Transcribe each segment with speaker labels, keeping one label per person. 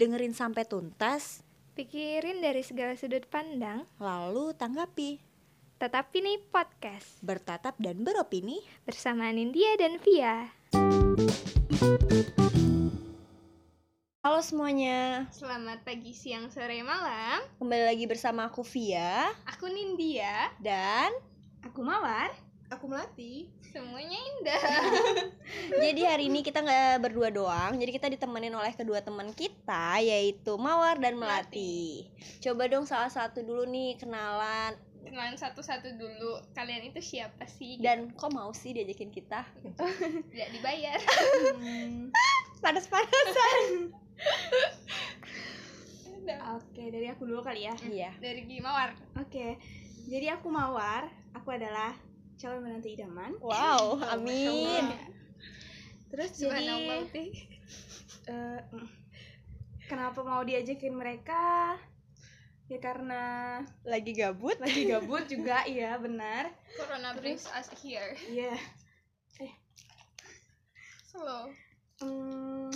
Speaker 1: dengerin sampai tuntas,
Speaker 2: Pikirin dari segala sudut pandang,
Speaker 1: lalu tanggapi,
Speaker 2: tetapi nih podcast
Speaker 1: bertatap dan beropini.
Speaker 2: bersama Nindya dan Via.
Speaker 1: Halo semuanya,
Speaker 2: Selamat pagi, siang, sore, malam.
Speaker 1: kembali lagi bersama aku Via
Speaker 2: Aku Nindya,
Speaker 1: dan
Speaker 2: aku Mawar.
Speaker 3: Aku melatih.
Speaker 2: Semuanya indah.
Speaker 1: jadi hari ini kita nggak berdua doang, jadi kita ditemenin oleh kedua teman kita yaitu Mawar dan Melati. Coba dong salah satu dulu nih kenalan
Speaker 2: Kenalan satu-satu dulu. Kalian itu siapa sih?
Speaker 1: dan kok mau sih diajakin kita?
Speaker 2: Tidak dibayar. Hmm.
Speaker 1: Panas-panasan.
Speaker 3: Oke, dari aku dulu kali ya.
Speaker 1: Iya.
Speaker 2: Dari Gimawar.
Speaker 3: Oke. Jadi aku Mawar, aku adalah calon menantu idaman.
Speaker 1: Wow, amin.
Speaker 3: Terus jadi
Speaker 2: Subhanallah.
Speaker 3: eh, mm. kenapa mau diajakin mereka? Ya karena
Speaker 1: Lagi gabut?
Speaker 3: lagi gabut juga, iya benar.
Speaker 2: Corona brings us here.
Speaker 3: Iya.
Speaker 2: Slow.
Speaker 3: Hmm,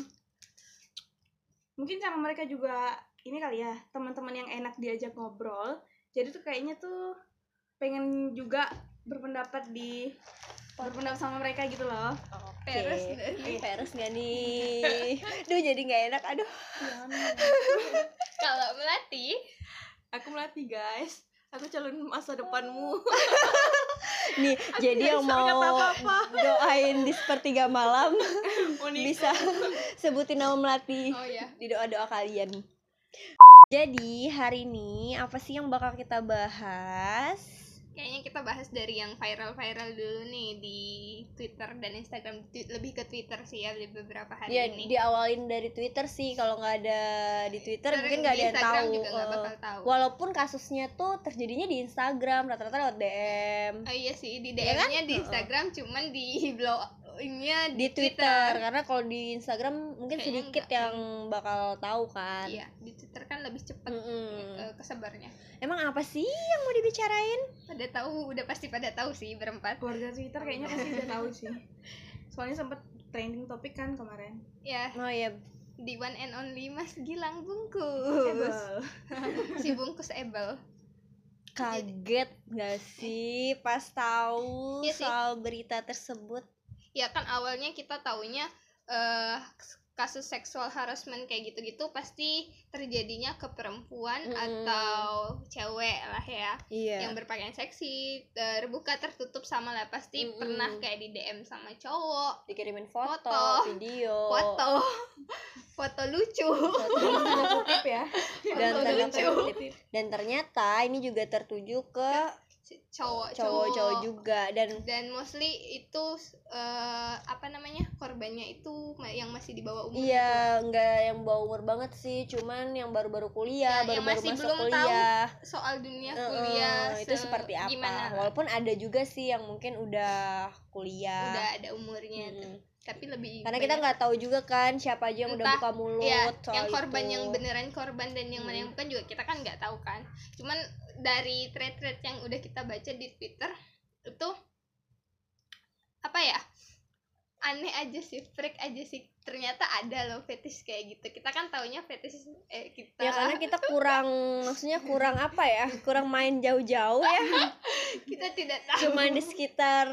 Speaker 3: mungkin karena mereka juga ini kali ya, teman-teman yang enak diajak ngobrol. Jadi tuh kayaknya tuh pengen juga berpendapat di berpendapat sama mereka gitu loh.
Speaker 2: Peres
Speaker 1: Oke.
Speaker 2: dari-
Speaker 1: Ih, Peres nggak nih? Duh jadi nggak enak. Aduh.
Speaker 2: Kalau melatih,
Speaker 3: Aku melatih guys. Aku calon masa depanmu.
Speaker 1: Nih jadi yang
Speaker 3: bisa
Speaker 1: mau
Speaker 3: kata apa-apa.
Speaker 1: doain di sepertiga malam bisa sebutin nama Melati
Speaker 2: oh ya,
Speaker 1: di doa doa kalian. Jadi hari ini apa sih yang bakal kita bahas?
Speaker 2: kayaknya kita bahas dari yang viral-viral dulu nih di Twitter dan Instagram. Twi- Lebih ke Twitter sih ya, di beberapa hari
Speaker 1: Ya
Speaker 2: ini.
Speaker 1: diawalin dari Twitter sih kalau nggak ada di Twitter
Speaker 2: Terus
Speaker 1: mungkin
Speaker 2: di
Speaker 1: nggak ada yang
Speaker 2: Instagram
Speaker 1: tahu.
Speaker 2: juga nggak
Speaker 1: Eh,
Speaker 2: bakal tahu.
Speaker 1: Walaupun kasusnya tuh terjadinya di Instagram rata-rata lewat DM.
Speaker 2: Oh iya sih, di
Speaker 1: Iya kan?
Speaker 2: DM-nya di
Speaker 1: Heeh.
Speaker 2: Instagram cuman di blow nya
Speaker 1: di Twitter karena kalau di Instagram mungkin
Speaker 2: Kayaknya
Speaker 1: sedikit
Speaker 2: enggak.
Speaker 1: yang bakal tahu kan.
Speaker 2: Iya, di Twitter kan lebih cepat
Speaker 1: Mm-mm.
Speaker 2: eh, kesebarnya.
Speaker 1: Emang apa sih yang mau dibicarain?
Speaker 2: Pada tahu, udah pasti pada tahu sih berempat.
Speaker 3: Keluarga Twitter kayaknya pasti udah tahu sih. Soalnya sempet trending topik kan kemarin.
Speaker 2: Ya,
Speaker 1: Oh ya,
Speaker 2: di one and only Mas Gilang
Speaker 1: Iya,
Speaker 2: Bungkus. si Bungkus Ebel.
Speaker 1: kaget nggak sih pas tahu
Speaker 2: Iya sih.
Speaker 1: soal berita tersebut?
Speaker 2: Ya kan awalnya kita taunya eh kasus seksual harassment kayak gitu-gitu pasti terjadinya ke perempuan
Speaker 1: Mm.
Speaker 2: atau cewek lah ya. yang
Speaker 1: Iya.
Speaker 2: berpakaian seksi terbuka tertutup sama lah pasti
Speaker 1: Mm-mm.
Speaker 2: pernah kayak di DM sama cowok
Speaker 1: Dikirimin foto,
Speaker 2: Foto.
Speaker 1: video,
Speaker 2: foto foto lucu
Speaker 3: Kutip ya.
Speaker 1: Dan
Speaker 2: Foto
Speaker 1: ternyata,
Speaker 2: lucu.
Speaker 1: dan ternyata ini juga tertuju ke
Speaker 2: cowok
Speaker 1: cowok-cowok juga dan
Speaker 2: dan mostly itu eh, apa namanya korbannya itu ma- yang masih di bawah umur gitu.
Speaker 1: Iya, nggak yang bawa umur banget sih, cuman yang baru-baru kuliah,
Speaker 2: Ya, yang
Speaker 1: baru-baru
Speaker 2: masih
Speaker 1: masuk
Speaker 2: belum tahu
Speaker 1: kuliah.
Speaker 2: soal dunia
Speaker 1: Heeh,
Speaker 2: kuliah
Speaker 1: itu
Speaker 2: se-
Speaker 1: seperti apa
Speaker 2: gimana
Speaker 1: walaupun ada juga sih yang mungkin udah kuliah
Speaker 2: udah ada umurnya
Speaker 1: Mm-mm.
Speaker 2: tuh. tapi lebih
Speaker 1: Iya. Hmm. karena kita nggak tahu juga kan siapa aja yang udah
Speaker 2: Entah,
Speaker 1: buka mulut
Speaker 2: Iya,
Speaker 1: soal
Speaker 2: yang korban
Speaker 1: itu. Hmm.
Speaker 2: yang beneran korban dan yang mana yang bukan juga kita kan nggak tahu kan. Cuman dari thread-thread yang udah kita baca di Twitter itu apa ya? Aneh aja sih, freak aja sih. Ternyata ada loh fetish kayak gitu. Kita kan taunya fetish eh kita
Speaker 1: ya karena kita kurang maksudnya kurang apa ya kurang main jauh-jauh ya
Speaker 2: kita tidak tahu.
Speaker 1: cuma di sekitar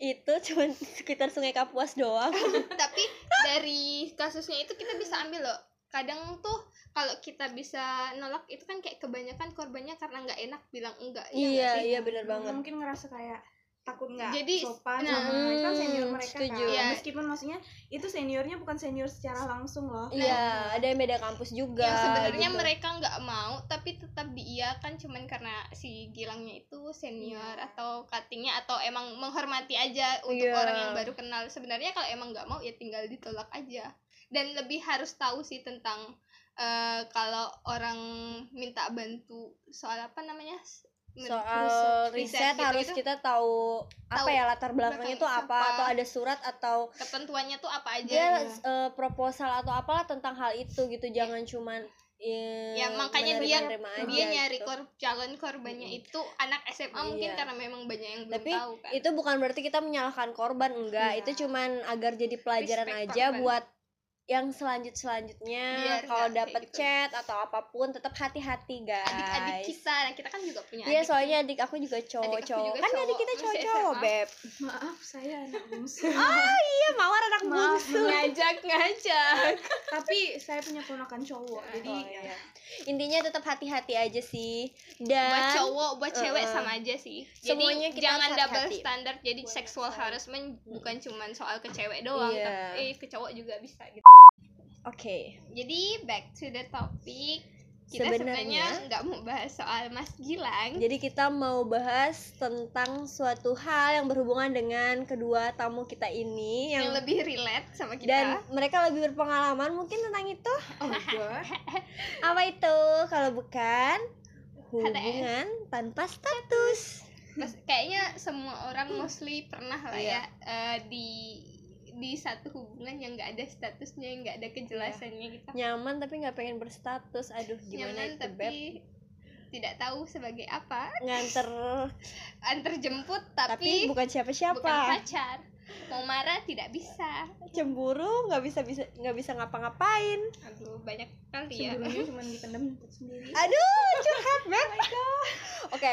Speaker 1: itu cuma di sekitar sungai Kapuas doang
Speaker 2: Tapi dari kasusnya itu kita bisa ambil loh. Kadang tuh kalau kita bisa nolak itu kan kayak kebanyakan korbannya karena nggak enak bilang enggak. ya nggak
Speaker 1: iya
Speaker 2: sih?
Speaker 1: iya bener banget
Speaker 3: Mungkin ngerasa kayak takut nggak
Speaker 2: Jadi,
Speaker 3: sopan
Speaker 2: nah,
Speaker 3: sama mereka kan senior
Speaker 1: hmm,
Speaker 3: mereka
Speaker 1: setuju.
Speaker 3: kan.
Speaker 2: Iya.
Speaker 3: Meskipun maksudnya itu seniornya bukan senior secara langsung loh.
Speaker 1: iya ada yang beda kampus juga
Speaker 2: kan. yang sebenarnya
Speaker 1: gitu.
Speaker 2: mereka nggak mau tapi tetap diiakan cuman karena si Gilangnya itu senior
Speaker 3: Iya.
Speaker 2: atau cuttingnya atau emang menghormati aja untuk
Speaker 1: Iya.
Speaker 2: orang yang baru kenal sebenarnya kalau emang nggak mau ya tinggal ditolak aja dan lebih harus tahu sih tentang eh, kalau orang minta bantu soal apa namanya S-
Speaker 1: soal riset,
Speaker 2: riset gitu-gitu.
Speaker 1: harus kita tahu, apa
Speaker 2: Tahu
Speaker 1: ya latar
Speaker 2: belakang
Speaker 1: belakangnya itu apa
Speaker 2: siapa.
Speaker 1: atau ada surat atau
Speaker 2: ketentuannya tuh apa aja
Speaker 1: dia
Speaker 3: iya.
Speaker 1: eh, proposal atau apalah tentang hal itu gitu jangan cuman eh,
Speaker 2: Iya. ya makanya dia
Speaker 1: menerima-nerima aja
Speaker 2: dia nyari
Speaker 1: gitu.
Speaker 2: kor- calon korbannya itu anak SMA mungkin
Speaker 1: Iya.
Speaker 2: karena memang banyak yang belum
Speaker 1: Tapi
Speaker 2: tahu kan
Speaker 1: itu bukan berarti kita menyalahkan korban enggak
Speaker 3: Iya.
Speaker 1: itu cuman agar jadi pelajaran
Speaker 2: Respect
Speaker 1: aja
Speaker 2: korban.
Speaker 1: buat yang selanjut selanjutnya
Speaker 2: Biar nggak
Speaker 1: kalau
Speaker 2: kayak
Speaker 1: dapat
Speaker 2: gitu.
Speaker 1: chat atau apapun tetap hati-hati guys
Speaker 2: adik-adik kita nah, kita kan juga punya
Speaker 1: Iya
Speaker 2: adik
Speaker 1: soalnya adik aku juga
Speaker 2: juga
Speaker 1: cowok-cowok Kan adik
Speaker 2: cowok,
Speaker 1: kita
Speaker 2: masih
Speaker 1: cowok-cowok
Speaker 2: SMA.
Speaker 1: Beb
Speaker 3: maaf saya anak bungsu
Speaker 1: Iya Mawar anak
Speaker 3: Maaf,
Speaker 1: bungsu
Speaker 2: ngajak ngajak ya.
Speaker 3: tapi saya punya ponakan cowok jadi
Speaker 1: Oh, iya. Intinya tetap hati-hati aja sih Dan
Speaker 2: buat cowok buat
Speaker 1: Eh,
Speaker 2: cewek
Speaker 1: eh.
Speaker 2: sama aja sih
Speaker 1: Semuanya
Speaker 2: jadi
Speaker 1: kita
Speaker 2: jangan
Speaker 1: harus
Speaker 2: double
Speaker 1: hati-hati.
Speaker 2: standar jadi
Speaker 1: Boleh
Speaker 2: seksual
Speaker 1: sekali.
Speaker 2: harassment bukan cuman soal ke cewek doang
Speaker 1: Iya.
Speaker 2: tapi eh, ke cowok juga bisa gitu
Speaker 1: Oke
Speaker 2: jadi back to the topic kita
Speaker 1: Sebenarnya
Speaker 2: sebenarnya nggak mau bahas soal Mas Gilang
Speaker 1: Jadi kita mau bahas tentang suatu hal yang berhubungan dengan kedua tamu kita ini
Speaker 2: yang
Speaker 1: yang,
Speaker 2: lebih relate sama kita
Speaker 1: dan mereka lebih berpengalaman mungkin tentang itu.
Speaker 3: oh god
Speaker 1: Apa itu kalau bukan hubungan tanpa status?
Speaker 2: Mas- kayaknya semua orang mostly pernah lah
Speaker 1: Hmm.
Speaker 2: ya
Speaker 1: Iya.
Speaker 2: eh, di di satu hubungan yang nggak ada statusnya yang nggak ada
Speaker 1: Iya.
Speaker 2: kejelasannya kita
Speaker 1: Nyaman tapi nggak pengen berstatus. Aduh gimana
Speaker 2: nyaman
Speaker 1: itu beb?
Speaker 2: tapi tidak tahu sebagai apa
Speaker 1: Nganter
Speaker 2: antar jemput
Speaker 1: tapi
Speaker 2: tapi,
Speaker 1: bukan siapa-siapa.
Speaker 2: bukan pacar mau marah tidak bisa
Speaker 1: Cemburu nggak bisa bisa nggak bisa ngapa-ngapain.
Speaker 2: aduh banyak kali ya
Speaker 3: sebelumnya cuma dipendam sendiri
Speaker 1: Aduh, curhat Beb. Oke.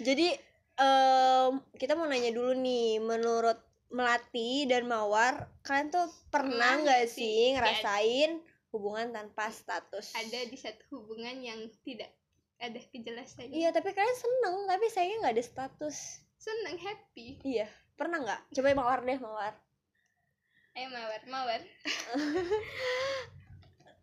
Speaker 1: Jadi em, kita mau nanya dulu nih menurut Melati dan Mawar, kalian tuh pernah
Speaker 2: Pernah
Speaker 1: nggak
Speaker 2: nggak sih?
Speaker 1: sih ngerasain hubungan tanpa status?
Speaker 2: ada di satu hubungan yang tidak ada kejelasannya
Speaker 1: Iya, tapi kalian seneng, tapi sayangnya nggak ada status.
Speaker 2: seneng happy
Speaker 1: Iya, pernah nggak? Coba Mawar deh, Mawar.
Speaker 2: ayo mawar mawar
Speaker 1: Iya.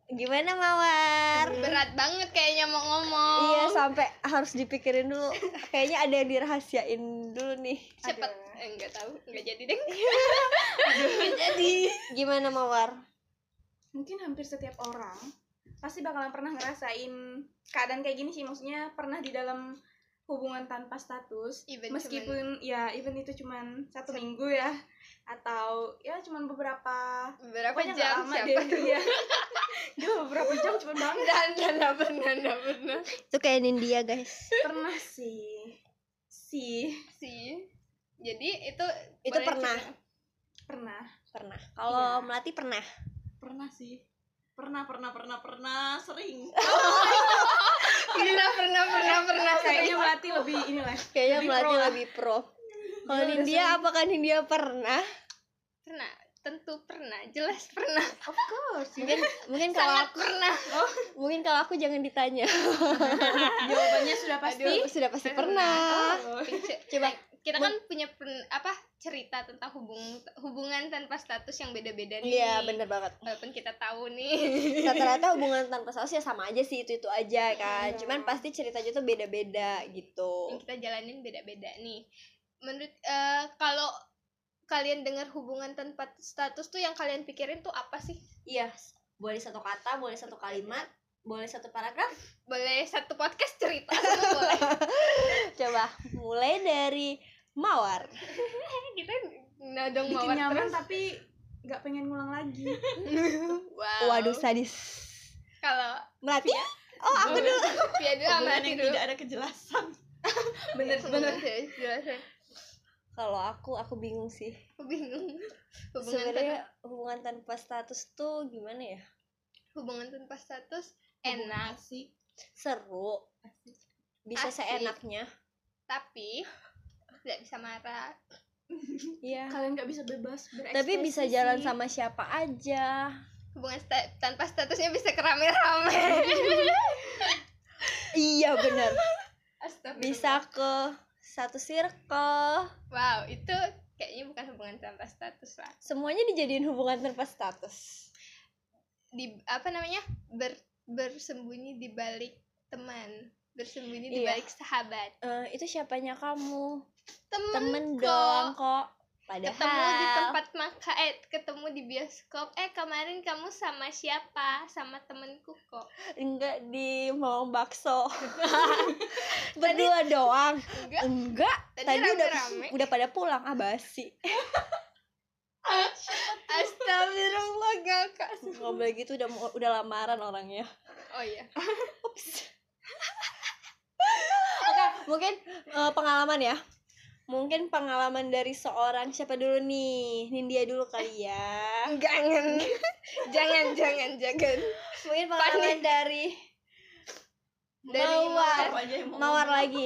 Speaker 1: Gimana Mawar?
Speaker 2: berat banget kayaknya mau ngomong
Speaker 1: Iya, sampai harus dipikirin dulu. Kayaknya ada yang dirahasiain dulu nih.
Speaker 2: cepet
Speaker 3: Aduh.
Speaker 2: Eh, nggak tahu nggak jadi deh
Speaker 1: Jadi, gimana Mawar?
Speaker 3: mungkin hampir setiap orang pasti bakalan pernah ngerasain keadaan kayak gini sih maksudnya pernah di dalam hubungan tanpa status
Speaker 2: Even
Speaker 3: meskipun ya even itu cuman Iya, satu minggu ya atau ya cuman beberapa
Speaker 2: berapa
Speaker 3: pokoknya nggak
Speaker 2: jam
Speaker 3: lama
Speaker 2: siapa
Speaker 3: deh ya Gila, beberapa jam cuman banget
Speaker 2: dan dan benar benar
Speaker 1: Itu kayak India, guys.
Speaker 3: pernah sih sih
Speaker 2: sih jadi itu
Speaker 1: Itu
Speaker 2: boleh
Speaker 1: pernah.
Speaker 2: cerita.
Speaker 3: pernah
Speaker 1: pernah kalau
Speaker 3: Iya.
Speaker 1: melati pernah
Speaker 3: pernah sih pernah pernah pernah pernah sering
Speaker 2: pernah pernah pernah pernah
Speaker 3: kayaknya melatih lebih ini lah
Speaker 1: kayaknya
Speaker 3: Lebih
Speaker 1: melati
Speaker 3: pro lah.
Speaker 1: lebih pro Iya, kalau
Speaker 3: Dia udah
Speaker 1: India apakah India pernah
Speaker 2: pernah tentu pernah jelas pernah
Speaker 3: of course
Speaker 1: mungkin mungkin kalau Oh,
Speaker 2: sangat pernah
Speaker 1: mungkin kalau aku jangan ditanya
Speaker 3: jawabannya sudah pasti
Speaker 1: Aduh, sudah pasti
Speaker 2: pernah.
Speaker 1: pernah
Speaker 3: Oh.
Speaker 1: coba
Speaker 2: kita kan punya pen- apa cerita tentang hubung hubungan tanpa status yang beda-beda nih
Speaker 1: iya bener banget
Speaker 2: walaupun kita tahu nih
Speaker 1: rata-rata hubungan tanpa saus ya sama aja sih itu itu aja kan
Speaker 3: Iya.
Speaker 1: cuman pasti ceritanya tuh beda-beda gitu
Speaker 2: yang kita jalanin beda-beda nih menurut eh, kalau kalian dengar hubungan tanpa status tuh yang kalian pikirin tuh apa sih
Speaker 1: iya boleh satu kata boleh satu kalimat boleh satu paragraf
Speaker 2: boleh satu podcast cerita semua boleh
Speaker 1: coba mulai dari mawar
Speaker 2: Eh, kita nodong
Speaker 3: bikin
Speaker 2: mawar
Speaker 3: nyaman
Speaker 2: terus
Speaker 3: tapi nggak pengen ngulang lagi
Speaker 2: wow.
Speaker 1: waduh sadis
Speaker 2: kalau
Speaker 1: melati oh aku dulu
Speaker 2: ya dulu sama Ati dulu
Speaker 3: ada kejelasan
Speaker 2: bener bener serius, jelasin
Speaker 1: kalau aku aku bingung sih
Speaker 2: aku bingung hubungan tanpa,
Speaker 1: sebenarnya hubungan tanpa status tuh gimana ya
Speaker 2: hubungan tanpa status enak
Speaker 3: sih
Speaker 1: seru bisa
Speaker 2: Asik.
Speaker 1: seenaknya
Speaker 2: tapi tidak bisa marah
Speaker 1: iya
Speaker 3: kalian nggak bisa bebas berekspresi
Speaker 1: tapi bisa jalan
Speaker 3: sih.
Speaker 1: sama siapa aja
Speaker 2: hubungan sta- tanpa statusnya bisa kerame-rame
Speaker 1: iya bener
Speaker 2: Astagfirullah.
Speaker 1: bisa ke satu circle
Speaker 2: wow itu kayaknya bukan hubungan tanpa status lah
Speaker 1: semuanya dijadiin hubungan tanpa status
Speaker 2: di apa namanya ber- bersembunyi di balik teman bersembunyi di
Speaker 1: Iya.
Speaker 2: balik sahabat
Speaker 1: Eh, itu siapanya kamu
Speaker 2: temen,
Speaker 1: temen
Speaker 2: kok.
Speaker 1: dong kok padahal
Speaker 2: ketemu di tempat makan eh ketemu di bioskop eh kemarin kamu sama siapa sama temenku kok
Speaker 1: enggak di mau bakso berdua doang
Speaker 2: enggak
Speaker 1: enggak
Speaker 2: tadi,
Speaker 1: Oh, tadi udah
Speaker 2: rame-rame
Speaker 1: udah pada pulang ah basi
Speaker 2: astagfirullah kakak
Speaker 1: nggak boleh gitu udah mau- udah lamaran orangnya
Speaker 2: oh iya
Speaker 1: Oke, mungkin eh, pengalaman ya. mungkin pengalaman dari seorang siapa dulu nih Nindya dulu kali ya
Speaker 2: jangan jangan jangan jangan
Speaker 1: mungkin pengalaman dari
Speaker 2: dari
Speaker 1: Mawar.
Speaker 2: Mawar.
Speaker 4: aja yang mau
Speaker 1: mawar lagi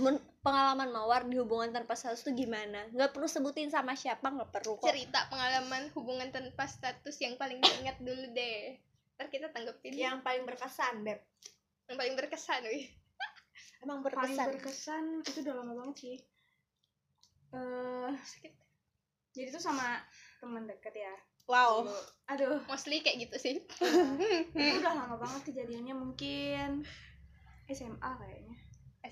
Speaker 1: Men- pengalaman mawar di hubungan tanpa status tuh gimana nggak perlu sebutin sama siapa nggak perlu kok
Speaker 2: cerita pengalaman hubungan tanpa status yang paling diingat dulu deh ntar kita tanggepin yang,
Speaker 1: yang paling berkesan beb
Speaker 2: paling berkesan wih
Speaker 1: emang
Speaker 3: paling
Speaker 1: berkesan
Speaker 3: berkesan itu udah lama banget sih eh jadi tuh sama teman dekat ya
Speaker 1: wow
Speaker 3: Dulu. aduh
Speaker 2: mostly kayak gitu sih
Speaker 3: itu udah lama banget kejadiannya mungkin SMA kayaknya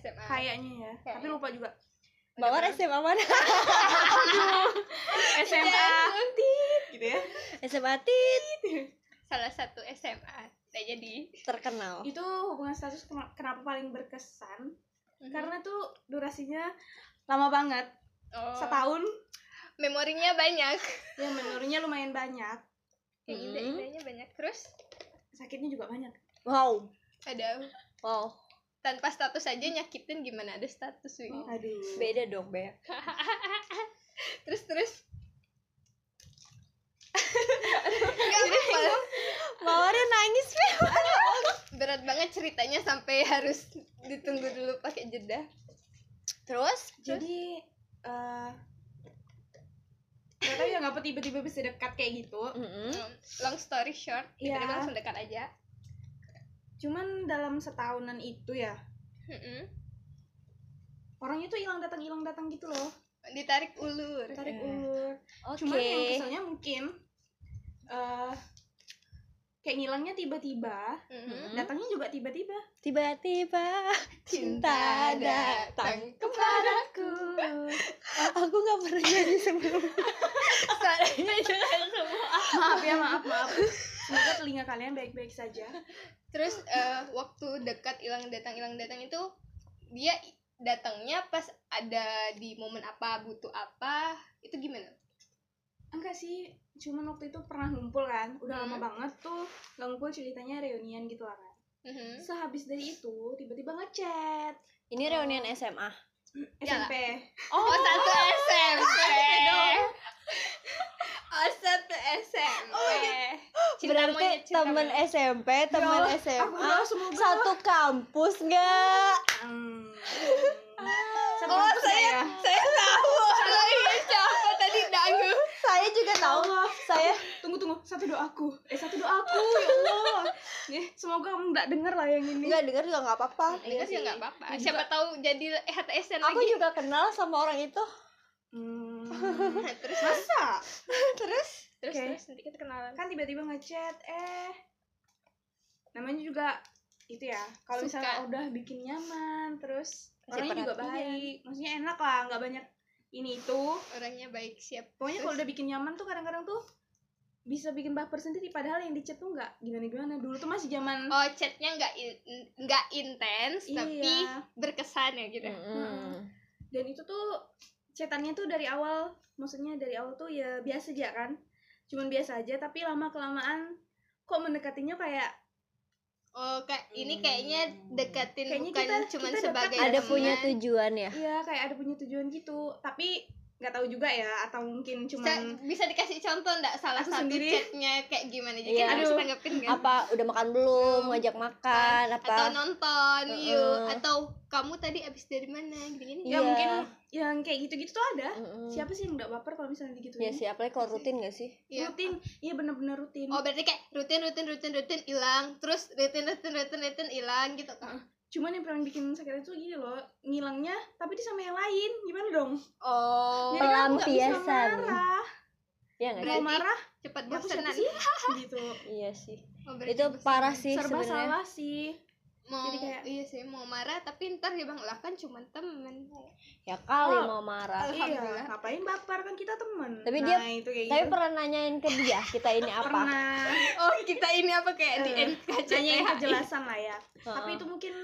Speaker 2: SMA
Speaker 3: kayaknya ya tapi
Speaker 2: Kayaknya.
Speaker 3: lupa juga
Speaker 1: mawar SMA mana
Speaker 3: SMA tit gitu ya
Speaker 1: SMA tit
Speaker 2: salah satu SMA nah jadi
Speaker 1: terkenal
Speaker 3: itu hubungan status ken- kenapa paling berkesan
Speaker 2: Mhm.
Speaker 3: karena tuh durasinya lama banget
Speaker 2: oh,
Speaker 3: setahun
Speaker 2: memorinya banyak
Speaker 3: ya menurutnya lumayan banyak
Speaker 2: yang
Speaker 1: Hmm.
Speaker 2: indah-indahnya banyak terus
Speaker 3: sakitnya juga banyak
Speaker 1: wow
Speaker 2: ada
Speaker 1: wow
Speaker 2: tanpa status aja nyakitin gimana ada status wih
Speaker 3: aduh
Speaker 1: beda dong beb
Speaker 2: terus terus Nggak apa-apa.
Speaker 1: mawarnya nangis beb
Speaker 2: berat banget ceritanya sampai harus ditunggu dulu pakai jeda
Speaker 1: terus
Speaker 3: jadi eh nggak tahu ya ngapa tiba-tiba bisa dekat kayak gitu
Speaker 1: Mm-mm.
Speaker 2: Um, long story short kita
Speaker 3: Iya.
Speaker 2: langsung dekat aja
Speaker 3: cuman dalam setahunan itu ya
Speaker 2: Mm-mm.
Speaker 3: orangnya tuh hilang datang hilang datang gitu loh
Speaker 2: ditarik ulur
Speaker 3: tarik
Speaker 1: Iya.
Speaker 3: ulur
Speaker 1: oke
Speaker 3: cuman yang keselnya mungkin eh kayak ngilangnya tiba-tiba
Speaker 2: Mm-mm.
Speaker 1: Hmm?
Speaker 3: datangnya juga tiba-tiba
Speaker 1: tiba-tiba cinta datang
Speaker 3: padaku
Speaker 1: aku nggak pernah nyanyi sebelum
Speaker 3: maaf ya maaf maaf semoga telinga kalian baik-baik saja
Speaker 2: terus eh, waktu dekat hilang datang hilang datang itu dia i- datangnya pas ada di momen apa butuh apa itu gimana
Speaker 3: enggak sih cuman waktu itu pernah ngumpul kan udah lama
Speaker 2: Hmm.
Speaker 3: banget tuh nggak ngumpul ceritanya reunian gitu lah kan
Speaker 2: Mhm.
Speaker 3: sehabis dari itu tiba-tiba ngechat
Speaker 1: ini reunian SMA Ya
Speaker 2: Iyalah.
Speaker 3: SMP
Speaker 2: oh satu SMP oh satu SMP
Speaker 1: Oh, iya.
Speaker 2: Cinta
Speaker 1: berarti
Speaker 2: monyet, cinta
Speaker 1: temen
Speaker 2: monyet.
Speaker 1: SMP temen
Speaker 3: Eh, Ya Allah, aku
Speaker 1: SMA
Speaker 3: doa semoga
Speaker 1: Ah, satu kampus nggak
Speaker 3: Hmm.
Speaker 1: Oh,
Speaker 3: Satu saya ya.
Speaker 1: saya tahu
Speaker 2: Salah ini iya, siapa tadi danggu
Speaker 1: saya juga
Speaker 3: Ya
Speaker 1: tahu
Speaker 3: Allah,
Speaker 1: saya
Speaker 3: tunggu tunggu satu doaku. Eh satu doaku ya Allah. Ya, semoga kamu nggak dengar lah yang ini.
Speaker 1: nggak dengar juga nggak apa-apa
Speaker 2: Enggak Iya sih Nah, ya nggak apa-apa
Speaker 3: Ini
Speaker 2: siapa tahu jadi eh, HTSN
Speaker 1: aku
Speaker 2: lagi
Speaker 1: juga kenal sama orang itu
Speaker 3: Hmm.
Speaker 2: Nah, terus
Speaker 3: Masa?
Speaker 1: terus
Speaker 2: terus
Speaker 3: Oke.
Speaker 2: terus nanti kita kenalan
Speaker 3: Kan tiba-tiba ngechat eh namanya juga itu ya. Kalau
Speaker 2: Suka.
Speaker 3: misalnya udah bikin nyaman, terus
Speaker 1: Kasih
Speaker 3: orangnya juga
Speaker 1: perhatian.
Speaker 3: baik. Maksudnya enak lah, nggak banyak ini itu.
Speaker 2: orangnya baik siap
Speaker 3: Pokoknya
Speaker 2: Terus?
Speaker 3: kalau udah bikin nyaman tuh kadang-kadang tuh bisa bikin baper sendiri padahal yang dicat tuh nggak gimana-gimana dulu tuh masih zaman
Speaker 2: oh chatnya nggak in- nggak intens tapi
Speaker 3: Iya. Hmm.
Speaker 2: berkesan ya gitu
Speaker 3: dan itu tuh cetannya tuh dari awal maksudnya dari awal tuh ya biasa aja kan cuman biasa aja tapi lama kelamaan kok mendekatinya kayak
Speaker 2: oh kayak ini kayaknya deketin
Speaker 3: Kayaknya
Speaker 2: bukan
Speaker 3: kita-
Speaker 2: cuman
Speaker 3: kita
Speaker 2: sebagai
Speaker 3: dekat
Speaker 1: ada
Speaker 2: teman.
Speaker 1: punya tujuan ya
Speaker 3: iya kayak ada punya tujuan gitu tapi nggak tahu juga ya atau mungkin
Speaker 2: Sa-
Speaker 3: cuman
Speaker 2: bisa dikasih contoh nggak salah
Speaker 3: Aku
Speaker 2: satu
Speaker 3: sendiri.
Speaker 2: chatnya kayak gimana jadi
Speaker 1: Iya.
Speaker 2: kita harus
Speaker 3: Aduh.
Speaker 2: tanggepin kan
Speaker 1: apa udah makan belum ngajak makan apa
Speaker 2: atau nonton yuk
Speaker 1: Heeh.
Speaker 2: atau kamu tadi abis dari mana gitu gini
Speaker 3: ya
Speaker 1: iya.
Speaker 3: mungkin yang kayak gitu-gitu tuh ada
Speaker 2: Hmm.
Speaker 1: Mm-mm.
Speaker 3: siapa sih yang nggak baper kalau misalnya gitu
Speaker 1: ya sih apalagi kalau rutin nggak sih
Speaker 2: Iya.
Speaker 3: rutin iya bener-bener rutin
Speaker 2: oh berarti kayak rutin rutin rutin rutin hilang terus rutin rutin rutin rutin hilang gitu kan
Speaker 3: cuman yang paling bikin sakit itu gini loh ngilangnya tapi dia sama yang lain gimana dong
Speaker 2: oh
Speaker 3: jadi kan aku nggak bisa
Speaker 1: Pelampiasan.
Speaker 3: marah
Speaker 1: ya
Speaker 3: mau
Speaker 1: nggak sih
Speaker 2: Berarti-
Speaker 3: marah
Speaker 2: cepat
Speaker 3: aku siapa
Speaker 2: bosenan
Speaker 3: sih gitu
Speaker 1: iya sih
Speaker 2: Oh, berarti
Speaker 1: itu
Speaker 2: bosenan.
Speaker 1: parah sih
Speaker 3: serba
Speaker 1: sebenarnya
Speaker 3: salah sih
Speaker 2: mau
Speaker 3: Jadi kayak-
Speaker 2: iya sih mau marah tapi ntar dia bilang lah kan cuma temen
Speaker 1: ya kali
Speaker 3: Oh.
Speaker 1: mau marah
Speaker 2: Alhamdulillah.
Speaker 3: Iya, ngapain baper kan kita temen.
Speaker 1: Tapi
Speaker 3: nah,
Speaker 1: dia-
Speaker 3: itu kayak
Speaker 1: tapi
Speaker 3: gitu.
Speaker 1: pernah nanyain ke dia kita ini apa
Speaker 3: pernah
Speaker 2: oh kita ini apa kayak di ya,
Speaker 3: Eh, nanyain
Speaker 2: NKCTH
Speaker 3: kejelasan lah ya.
Speaker 1: Heeh.
Speaker 3: Tapi itu mungkin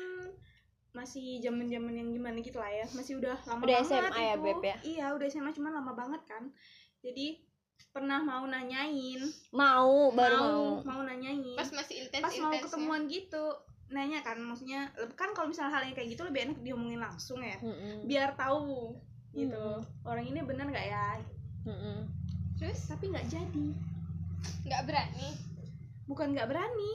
Speaker 3: masih zaman-zaman yang gimana gitu lah ya. Masih udah lama
Speaker 1: Udah
Speaker 3: banget
Speaker 1: SMA ya,
Speaker 3: itu.
Speaker 1: Beb, ya?
Speaker 3: Iya, udah SMA cuman lama banget kan. Jadi pernah mau nanyain,
Speaker 1: mau baru mau,
Speaker 3: mau, nanyain.
Speaker 2: pas masih intens
Speaker 3: Pas mau
Speaker 2: intensnya.
Speaker 3: ketemuan gitu, nanya kan maksudnya kan kalau misalnya hal yang kayak gitu lebih enak diomongin langsung ya
Speaker 1: Mm-mm.
Speaker 3: biar tahu gitu
Speaker 1: Mm.
Speaker 3: orang ini bener nggak ya
Speaker 1: Mm-mm.
Speaker 2: terus
Speaker 3: tapi nggak jadi
Speaker 2: nggak berani
Speaker 3: bukan nggak berani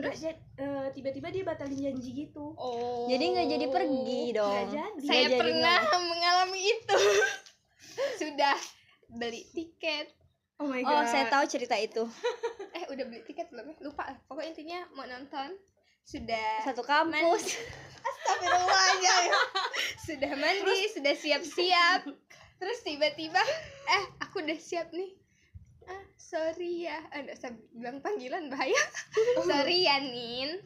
Speaker 3: nggak ja- eh, tiba-tiba dia batalin janji gitu
Speaker 2: oh
Speaker 1: Jadi nggak jadi pergi dong.
Speaker 3: nggak jadi
Speaker 1: Saya
Speaker 2: saya
Speaker 1: jadi
Speaker 2: pernah mengalami itu sudah beli tiket
Speaker 3: oh my
Speaker 1: Oh, saya tahu cerita itu.
Speaker 2: eh udah beli tiket belum ya? lupa lah. pokok intinya mau nonton sudah
Speaker 1: Satu kampus.
Speaker 2: Astagfirullahaladzim. sudah mandi sudah siap-siap terus tiba-tiba eh aku udah siap nih ah sorry ya ada saya bilang panggilan bahaya sorry ya Nin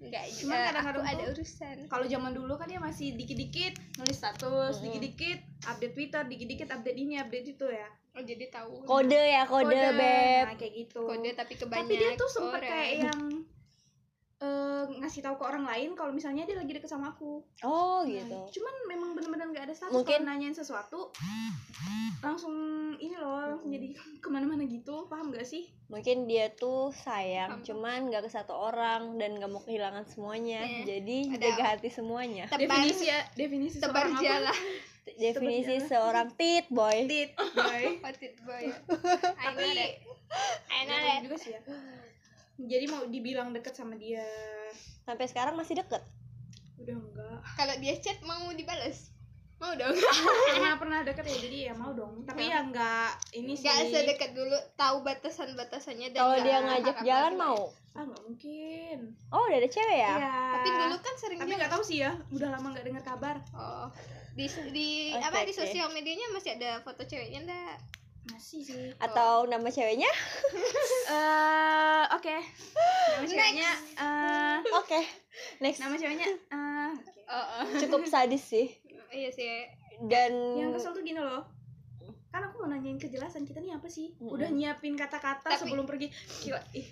Speaker 2: nggak
Speaker 3: Oh. Cuman
Speaker 2: eh, aku
Speaker 3: kadang-kadang
Speaker 2: ada
Speaker 3: tuh-
Speaker 2: urusan
Speaker 3: kalau zaman dulu kan dia masih dikit-dikit nulis status
Speaker 1: Mm-mm.
Speaker 3: dikit-dikit update twitter dikit-dikit update ini update itu ya
Speaker 2: oh jadi tahu
Speaker 1: Kode ya, kode, beb.
Speaker 3: nah, kayak gitu
Speaker 2: kode tapi kebanyakan
Speaker 3: tapi dia tuh sempet kayak yang eh, ngasih tahu ke orang lain kalau misalnya dia lagi deket sama aku Nah,
Speaker 1: Oh,
Speaker 2: Iya
Speaker 1: gitu.
Speaker 3: cuman memang bener-bener nggak ada status
Speaker 1: Mungkin-
Speaker 3: kalau nanyain sesuatu langsung ini loh langsung jadi kemana-mana gitu paham gak sih
Speaker 1: Mungkin dia tuh
Speaker 2: Paham.
Speaker 1: sayang, cuman nggak ke satu orang dan nggak mau kehilangan semuanya.
Speaker 2: Iya.
Speaker 1: Jadi
Speaker 2: Ada-
Speaker 1: jaga hati semuanya.
Speaker 2: tebar
Speaker 3: definisi ya definisi
Speaker 2: tebar
Speaker 3: seorang apa?
Speaker 2: jala
Speaker 1: Definisi
Speaker 3: sebenarnya.
Speaker 1: seorang tit boy.
Speaker 3: Tit, boy.
Speaker 2: What it boy I know
Speaker 3: Tapi-
Speaker 2: that I know
Speaker 3: Jangan
Speaker 2: that
Speaker 3: juga sih ya jadi mau dibilang deket sama dia
Speaker 1: Sampai sekarang masih deket.
Speaker 3: udah enggak
Speaker 2: kalau dia chat mau dibalas mau dong
Speaker 3: pernah pernah deket ya jadi ya mau dong tapi ya enggak ini sih
Speaker 2: Iya. nggak sedekat dulu tahu batasan batasannya dan
Speaker 1: Kalau
Speaker 2: nggak
Speaker 1: dia ngajak
Speaker 2: harap
Speaker 1: jalan
Speaker 2: lagi.
Speaker 1: mau.
Speaker 3: ah nggak mungkin
Speaker 1: Oh, udah ada cewek ya?
Speaker 3: Iya.
Speaker 2: tapi dulu kan sering
Speaker 3: tapi
Speaker 2: dia
Speaker 3: nggak tahu sih ya udah lama nggak dengar kabar
Speaker 2: oh di di
Speaker 1: Oke,
Speaker 2: apa di
Speaker 1: oke.
Speaker 2: sosial medianya masih ada foto ceweknya enggak
Speaker 3: masih sih
Speaker 1: Atau nama ceweknya?
Speaker 3: eh oke nama ceweknya eh
Speaker 1: Oke. Next.
Speaker 3: nama ceweknya eh oke.
Speaker 2: oh, oh.
Speaker 1: Cukup sadis sih.
Speaker 2: iya sih
Speaker 1: Dan
Speaker 3: yang kesel tuh gini loh kan aku mau nanyain kejelasan kita nih apa sih
Speaker 1: Mm-mm.
Speaker 3: udah nyiapin kata-kata
Speaker 2: Tapi-
Speaker 3: sebelum pergi gila ih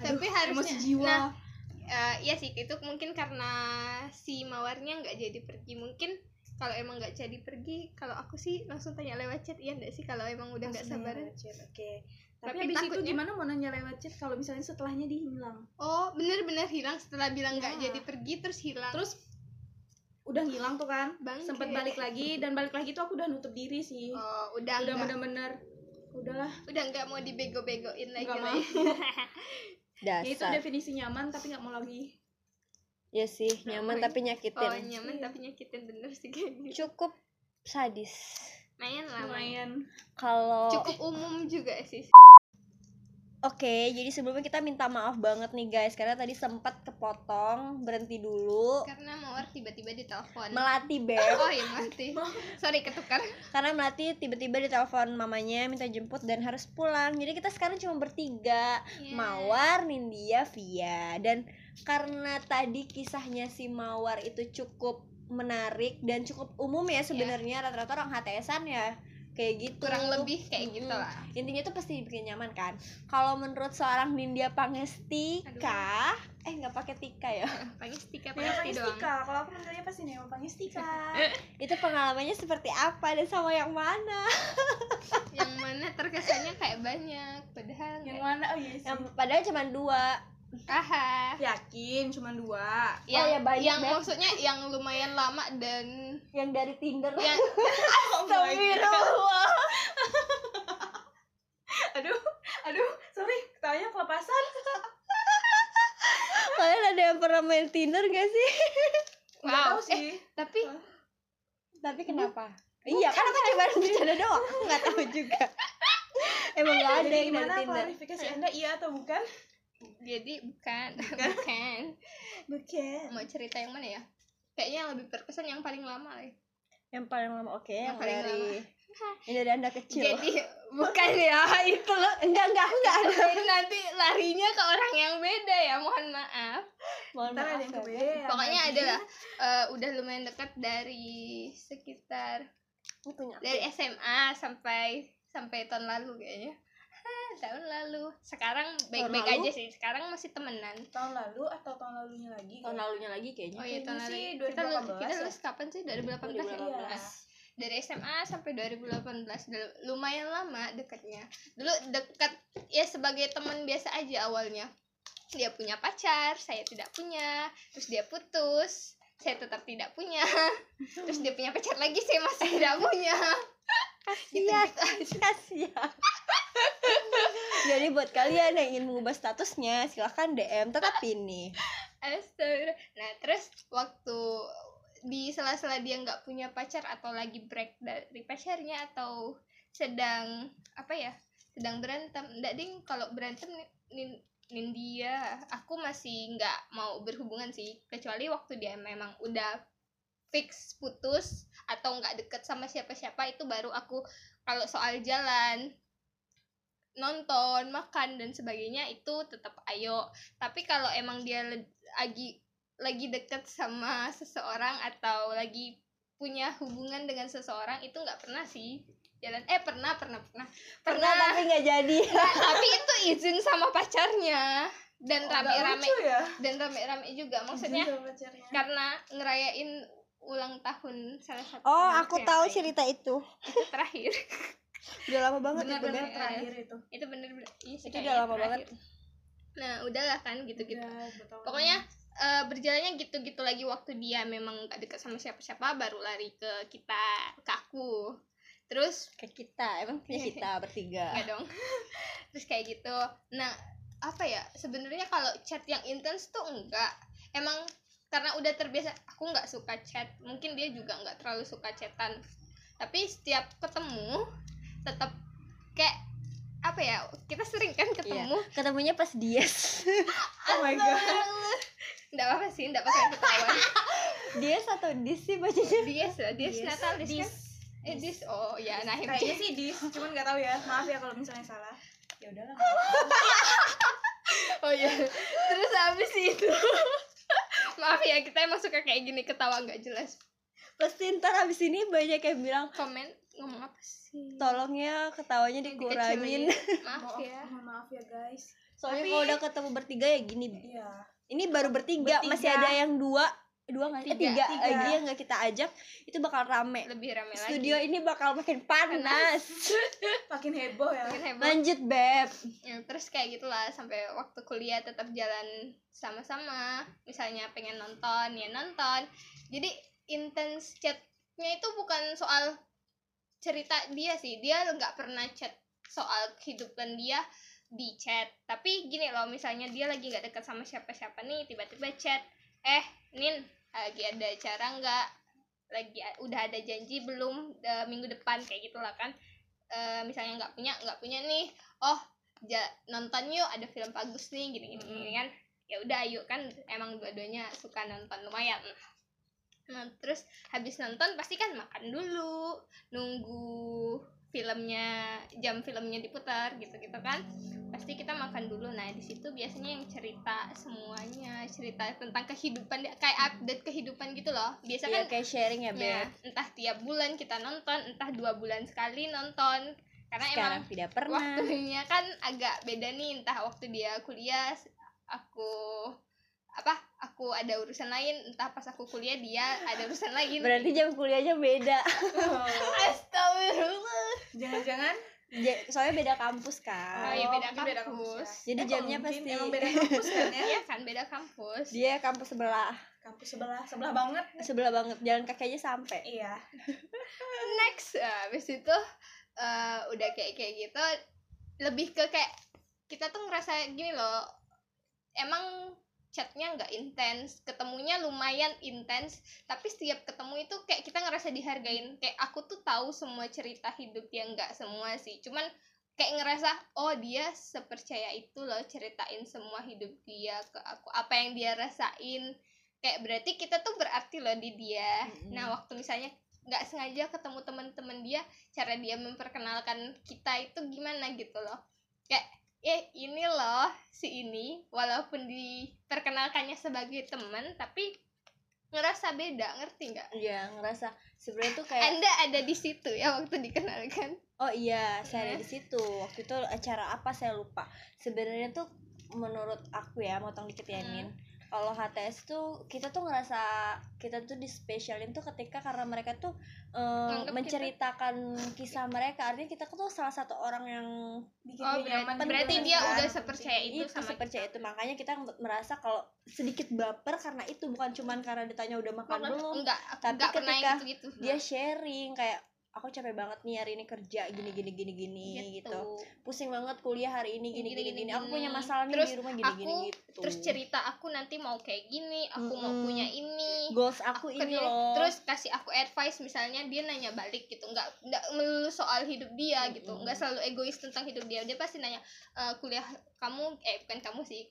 Speaker 2: Tapi harusnya-
Speaker 3: emosi jiwa
Speaker 2: nah, Eh, iya sih itu mungkin karena si mawarnya nggak jadi pergi mungkin kalau emang nggak jadi pergi kalau aku sih langsung tanya lewat chat iya nggak sih kalau emang udah nggak
Speaker 3: Langsung ya."
Speaker 2: sabaran
Speaker 3: nanya lewat chat, oke tapi, ya.
Speaker 2: Tapi
Speaker 3: habis itu
Speaker 2: takutnya-
Speaker 3: gimana mau nanya lewat chat kalau misalnya setelahnya dia hilang
Speaker 2: oh bener-bener hilang setelah bilang nggak
Speaker 3: Ya.
Speaker 2: jadi pergi terus hilang
Speaker 3: terus udah hilang tuh kan
Speaker 2: Bangke.
Speaker 3: sempet balik lagi dan balik lagi tuh aku udah nutup diri sih
Speaker 2: oh udah
Speaker 3: udah
Speaker 2: nggak
Speaker 3: bener-bener udahlah
Speaker 2: udah nggak mau dibego-begoin lagi
Speaker 3: Nggak
Speaker 2: lah
Speaker 3: mau.
Speaker 1: dasar.
Speaker 3: ya itu definisi nyaman tapi nggak mau lagi
Speaker 1: Ya sih, nyaman
Speaker 2: Ngapain?
Speaker 1: tapi nyakitin.
Speaker 2: oh nyaman tapi nyakitin bener sih kayak gitu
Speaker 1: Cukup sadis.
Speaker 2: main lah main.
Speaker 3: lumayan
Speaker 1: Kalau
Speaker 2: cukup umum juga sih
Speaker 1: Oke, jadi sebelumnya kita minta maaf banget nih guys karena tadi sempat kepotong, berhenti dulu.
Speaker 2: karena mawar tiba-tiba ditelepon
Speaker 1: Melati beb
Speaker 2: oh iya mati sorry ketukar
Speaker 3: Iya.
Speaker 1: karena Melati tiba-tiba ditelepon mamanya minta jemput dan harus pulang. Jadi kita sekarang cuma bertiga,
Speaker 2: Iya.
Speaker 1: Mawar, Nindya, Via. Dan karena tadi kisahnya si Mawar itu cukup menarik dan cukup umum ya sebenarnya rata-rata orang HTSan ya kayak gitu.
Speaker 2: Iya. kurang lebih kayak gitu
Speaker 1: Mm-mm.
Speaker 2: lah
Speaker 1: intinya tuh pasti bikin nyaman kan kalau menurut seorang Nindya Pangestika eh nggak pakai tika ya
Speaker 2: Pangestika
Speaker 3: Neo
Speaker 2: pasti doang
Speaker 3: Pangestika, kalau aku manggilnya pasti Neo Pangestika
Speaker 1: itu pengalamannya seperti apa dan sama yang mana
Speaker 2: yang mana terkesannya kayak banyak padahal nggak.
Speaker 3: Yang mana? Oh iya sih
Speaker 1: yang padahal cuma dua
Speaker 2: Aha.
Speaker 3: Yakin, cuma dua
Speaker 2: yang,
Speaker 1: ya, banyak
Speaker 2: yang
Speaker 1: banget.
Speaker 2: maksudnya yang lumayan lama dan
Speaker 1: yang dari Tinder
Speaker 2: yang oh
Speaker 1: Astagfirullah
Speaker 3: Aduh, aduh, sorry, ketawanya kelepasan
Speaker 1: kalian ada yang pernah main Tinder gak sih
Speaker 3: Nggak
Speaker 2: wow eh
Speaker 3: tahu sih
Speaker 2: tapi
Speaker 1: tapi kenapa iya kan aku cuma bercanda doang aku nggak tahu juga emang nggak ada
Speaker 3: Jadi
Speaker 1: yang dari
Speaker 3: gimana
Speaker 1: Tinder
Speaker 3: klarifikasi anda iya atau bukan?
Speaker 2: jadi bukan bukan
Speaker 3: Bukan
Speaker 2: mau cerita yang mana ya kayaknya yang lebih berkesan yang paling lama lah ya.
Speaker 1: yang paling lama oke yang,
Speaker 2: paling
Speaker 1: dari yang dari anda kecil
Speaker 2: jadi bukan ya itu loh
Speaker 1: enggak enggak aku nggak ada
Speaker 2: Jadi nanti larinya ke orang yang beda ya mohon maaf
Speaker 1: Mohon
Speaker 3: Ntar ada
Speaker 1: maaf
Speaker 3: yang
Speaker 1: ya.
Speaker 3: kebayang
Speaker 2: pokoknya ada lah eh, udah lumayan dekat dari sekitar
Speaker 1: Ini punya aku.
Speaker 2: dari SMA sampai sampai tahun lalu kayaknya Hah, tahun lalu sekarang baik-baik
Speaker 1: lalu?
Speaker 2: aja sih sekarang masih temenan
Speaker 3: Tahun lalu atau tahun lalunya lagi?
Speaker 1: tahun lalunya lagi kayaknya
Speaker 2: oh iya tahun lalu
Speaker 3: Kayaknya sih
Speaker 2: kita, lu-
Speaker 3: 2018
Speaker 2: kita
Speaker 3: ya.
Speaker 2: lulus kapan sih 2018 ya
Speaker 1: 2018.
Speaker 2: dari SMA sampai 2018 Udah lumayan lama dekatnya dulu dekat ya sebagai teman biasa aja awalnya dia punya pacar saya tidak punya terus dia putus saya tetap tidak punya terus dia punya pacar lagi saya masih tidak punya gitu
Speaker 1: Iya, kasihan. Jadi buat kalian yang ingin mengubah statusnya, silahkan DM tetap ini.
Speaker 2: Astaga. Nah, terus waktu di sela-sela dia nggak punya pacar atau lagi break dari pacarnya atau sedang apa ya? Sedang berantem. Nggak ding kalau berantem nin- nin- Nindia, aku masih nggak mau berhubungan sih, kecuali waktu dia memang udah fix putus atau nggak deket sama siapa-siapa itu baru aku kalau soal jalan nonton makan dan sebagainya itu tetap ayo tapi kalau emang dia le- lagi lagi deket sama seseorang atau lagi punya hubungan dengan seseorang itu nggak pernah sih jalan eh pernah pernah pernah
Speaker 1: Pernah tapi nggak jadi.
Speaker 2: Nggak, tapi itu izin sama pacarnya dan
Speaker 3: Oh, nggak
Speaker 2: rame-rame
Speaker 3: lucu ya
Speaker 2: dan rame-rame juga maksudnya
Speaker 3: Izin sama pacarnya.
Speaker 2: karena ngerayain ulang tahun salah satu
Speaker 1: Oh,
Speaker 2: temanku
Speaker 1: aku
Speaker 2: yang
Speaker 1: tahu
Speaker 2: lain.
Speaker 1: cerita itu.
Speaker 2: Itu terakhir
Speaker 1: Udah lama banget
Speaker 2: Benar,
Speaker 1: itu
Speaker 2: benar.
Speaker 1: kan.
Speaker 3: benar terakhir itu
Speaker 2: itu bener-bener iya sih,
Speaker 1: Itu
Speaker 2: kayaknya
Speaker 1: udah lama banget.
Speaker 2: terakhir. nah udahlah kan gitu-gitu
Speaker 3: Udah bertahun-tahun.
Speaker 2: pokoknya eh, berjalannya gitu-gitu lagi waktu dia memang gak dekat sama siapa-siapa baru lari ke kita ke aku terus
Speaker 1: Ke kita, emang punya kita bertiga.
Speaker 2: nggak dong terus kayak gitu nah apa ya sebenarnya kalau chat yang intens tuh enggak emang karena udah terbiasa aku nggak suka chat mungkin dia juga nggak terlalu suka chatan tapi setiap ketemu tetap kayak apa ya kita sering kan ketemu
Speaker 1: Ketemunya pas dies.
Speaker 3: oh my god
Speaker 2: nggak apa-apa sih nggak pakai ketahuan
Speaker 1: dies atau dis sih bacanya?
Speaker 2: dia dia
Speaker 1: Yes.
Speaker 2: natalis kan eh dis oh ya nah
Speaker 3: kayaknya sih dis cuman nggak tahu ya maaf ya kalau misalnya salah ya udahlah
Speaker 2: oh ya terus habis itu maaf ya kita emang suka kayak gini ketawa nggak jelas
Speaker 1: Pasti ntar abis ini banyak yang bilang,
Speaker 2: komen ngomong apa sih
Speaker 1: tolong ya ketawanya
Speaker 2: Dikecilin.
Speaker 1: dikurangin.
Speaker 2: maaf ya
Speaker 3: mohon maaf ya guys
Speaker 1: Soalnya
Speaker 2: Tapi-
Speaker 1: kalau udah ketemu bertiga ya gini. Bi.
Speaker 3: iya
Speaker 1: Ini baru bertiga,
Speaker 3: Bertiga.
Speaker 1: masih ada yang dua, dua nggak? Eh,
Speaker 2: Tiga.
Speaker 1: tiga,
Speaker 3: Tiga.
Speaker 1: lagi yang nggak kita ajak, itu bakal rame.
Speaker 2: lebih rame lagi
Speaker 1: Studio ini bakal makin panas.
Speaker 3: makin heboh ya
Speaker 2: Makin heboh.
Speaker 1: Lanjut beb.
Speaker 2: Ya, terus kayak gitulah sampai waktu kuliah tetap jalan sama-sama misalnya pengen nonton ya nonton jadi intense chatnya itu bukan soal cerita dia sih dia nggak pernah chat soal kehidupan dia di chat tapi gini loh misalnya dia lagi nggak dekat sama siapa-siapa nih tiba-tiba chat eh Nin lagi ada acara nggak lagi a- udah ada janji belum Eh, minggu depan kayak gitulah kan Eh, misalnya nggak punya nggak punya nih oh ja- nonton yuk ada film bagus nih gini gini, gini kan ya udah yuk kan emang dua-duanya suka nonton lumayan nah terus habis nonton pasti kan makan dulu nunggu filmnya jam filmnya diputar gitu gitu kan pasti kita makan dulu nah di situ biasanya yang cerita semuanya cerita tentang kehidupan dia- kayak update kehidupan gitu loh biasa kan
Speaker 1: Iya kayak sharing ya
Speaker 2: Ya,
Speaker 1: beb.
Speaker 2: entah tiap bulan kita nonton, entah dua bulan sekali nonton. Karena
Speaker 1: Sekarang
Speaker 2: emang
Speaker 1: tidak pernah.
Speaker 2: waktunya kan agak beda nih, entah waktu dia kuliah, s- aku apa? Aku ada urusan lain, entah pas aku kuliah dia ada urusan lain.
Speaker 1: Berarti jam kuliahnya beda.
Speaker 3: Oh,
Speaker 2: Astagfirullah.
Speaker 3: jangan-jangan eh,
Speaker 1: Ja- Soalnya beda kampus kan.
Speaker 2: Oh, iya, beda
Speaker 3: mungkin
Speaker 2: kampus.
Speaker 3: ya.
Speaker 1: Jadi
Speaker 3: Eh,
Speaker 1: jamnya
Speaker 3: kalau mungkin
Speaker 1: pasti-
Speaker 3: emang beda kampus kan ya
Speaker 2: Iya kan beda kampus.
Speaker 1: Dia kampus sebelah,
Speaker 3: kampus sebelah sebelah banget
Speaker 1: sebelah banget. Jalan kaki aja sampai.
Speaker 3: iya
Speaker 2: next Ah, habis itu eh, udah kayak kayak gitu lebih ke kayak kita tuh ngerasa gini loh emang chatnya nggak intens ketemunya lumayan intens tapi setiap ketemu itu kayak kita ngerasa dihargain kayak aku tuh tahu semua cerita hidup dia nggak semua sih cuman kayak ngerasa oh dia sepercaya itu loh ceritain semua hidup dia ke aku apa yang dia rasain kayak berarti kita tuh berarti loh di dia
Speaker 1: Mm-mm.
Speaker 2: nah waktu misalnya nggak sengaja ketemu teman-teman dia cara dia memperkenalkan kita itu gimana gitu loh kayak eh ini loh si ini walaupun diperkenalkannya sebagai teman tapi ngerasa beda ngerti nggak
Speaker 1: Iya ngerasa sebenarnya tuh kayak
Speaker 2: anda ada di situ ya waktu dikenalkan
Speaker 1: Oh iya, saya ada
Speaker 2: Iya.
Speaker 1: di situ. Waktu itu acara apa saya lupa. Sebenarnya tuh menurut aku ya, motong dikit ya
Speaker 2: Hmm.
Speaker 1: Nin. kalau HTS tuh kita tuh ngerasa kita tuh di spesialin tuh ketika karena mereka tuh eh,
Speaker 2: Nganggep kita-
Speaker 1: menceritakan kisah mereka artinya kita tuh salah satu orang yang
Speaker 3: bikin
Speaker 2: Oh,
Speaker 3: dia nyaman
Speaker 2: berarti,
Speaker 3: gitu
Speaker 2: berarti
Speaker 3: kan.
Speaker 2: dia udah sepercaya itu,
Speaker 1: itu
Speaker 2: sama
Speaker 1: seperti
Speaker 2: kita.
Speaker 1: itu makanya kita merasa kalau sedikit baper karena itu bukan cuman karena ditanya udah makan
Speaker 2: Bukan,
Speaker 1: belum
Speaker 2: enggak, aku
Speaker 1: Tapi
Speaker 2: enggak pernah gitu.
Speaker 1: ketika
Speaker 2: yang gitu-gitu.
Speaker 1: dia sharing kayak aku capek banget nih hari ini kerja gini gini gini gini gitu, pusing banget kuliah hari ini gini gini gini, aku punya masalah nih
Speaker 2: Hmm. Terus
Speaker 1: di rumah gini gini
Speaker 2: aku-
Speaker 1: gitu
Speaker 2: Terus cerita aku nanti mau kayak gini, aku mau
Speaker 1: Mm-mm.
Speaker 2: punya ini.
Speaker 1: goals aku, ini
Speaker 2: kerja-
Speaker 1: loh
Speaker 2: Terus kasih aku advice misalnya dia nanya balik gitu, enggak enggak melulu soal hidup dia gitu.
Speaker 1: Mm-mm.
Speaker 2: Enggak selalu egois tentang hidup dia. Dia pasti nanya e, kuliah kamu eh bukan kamu sih.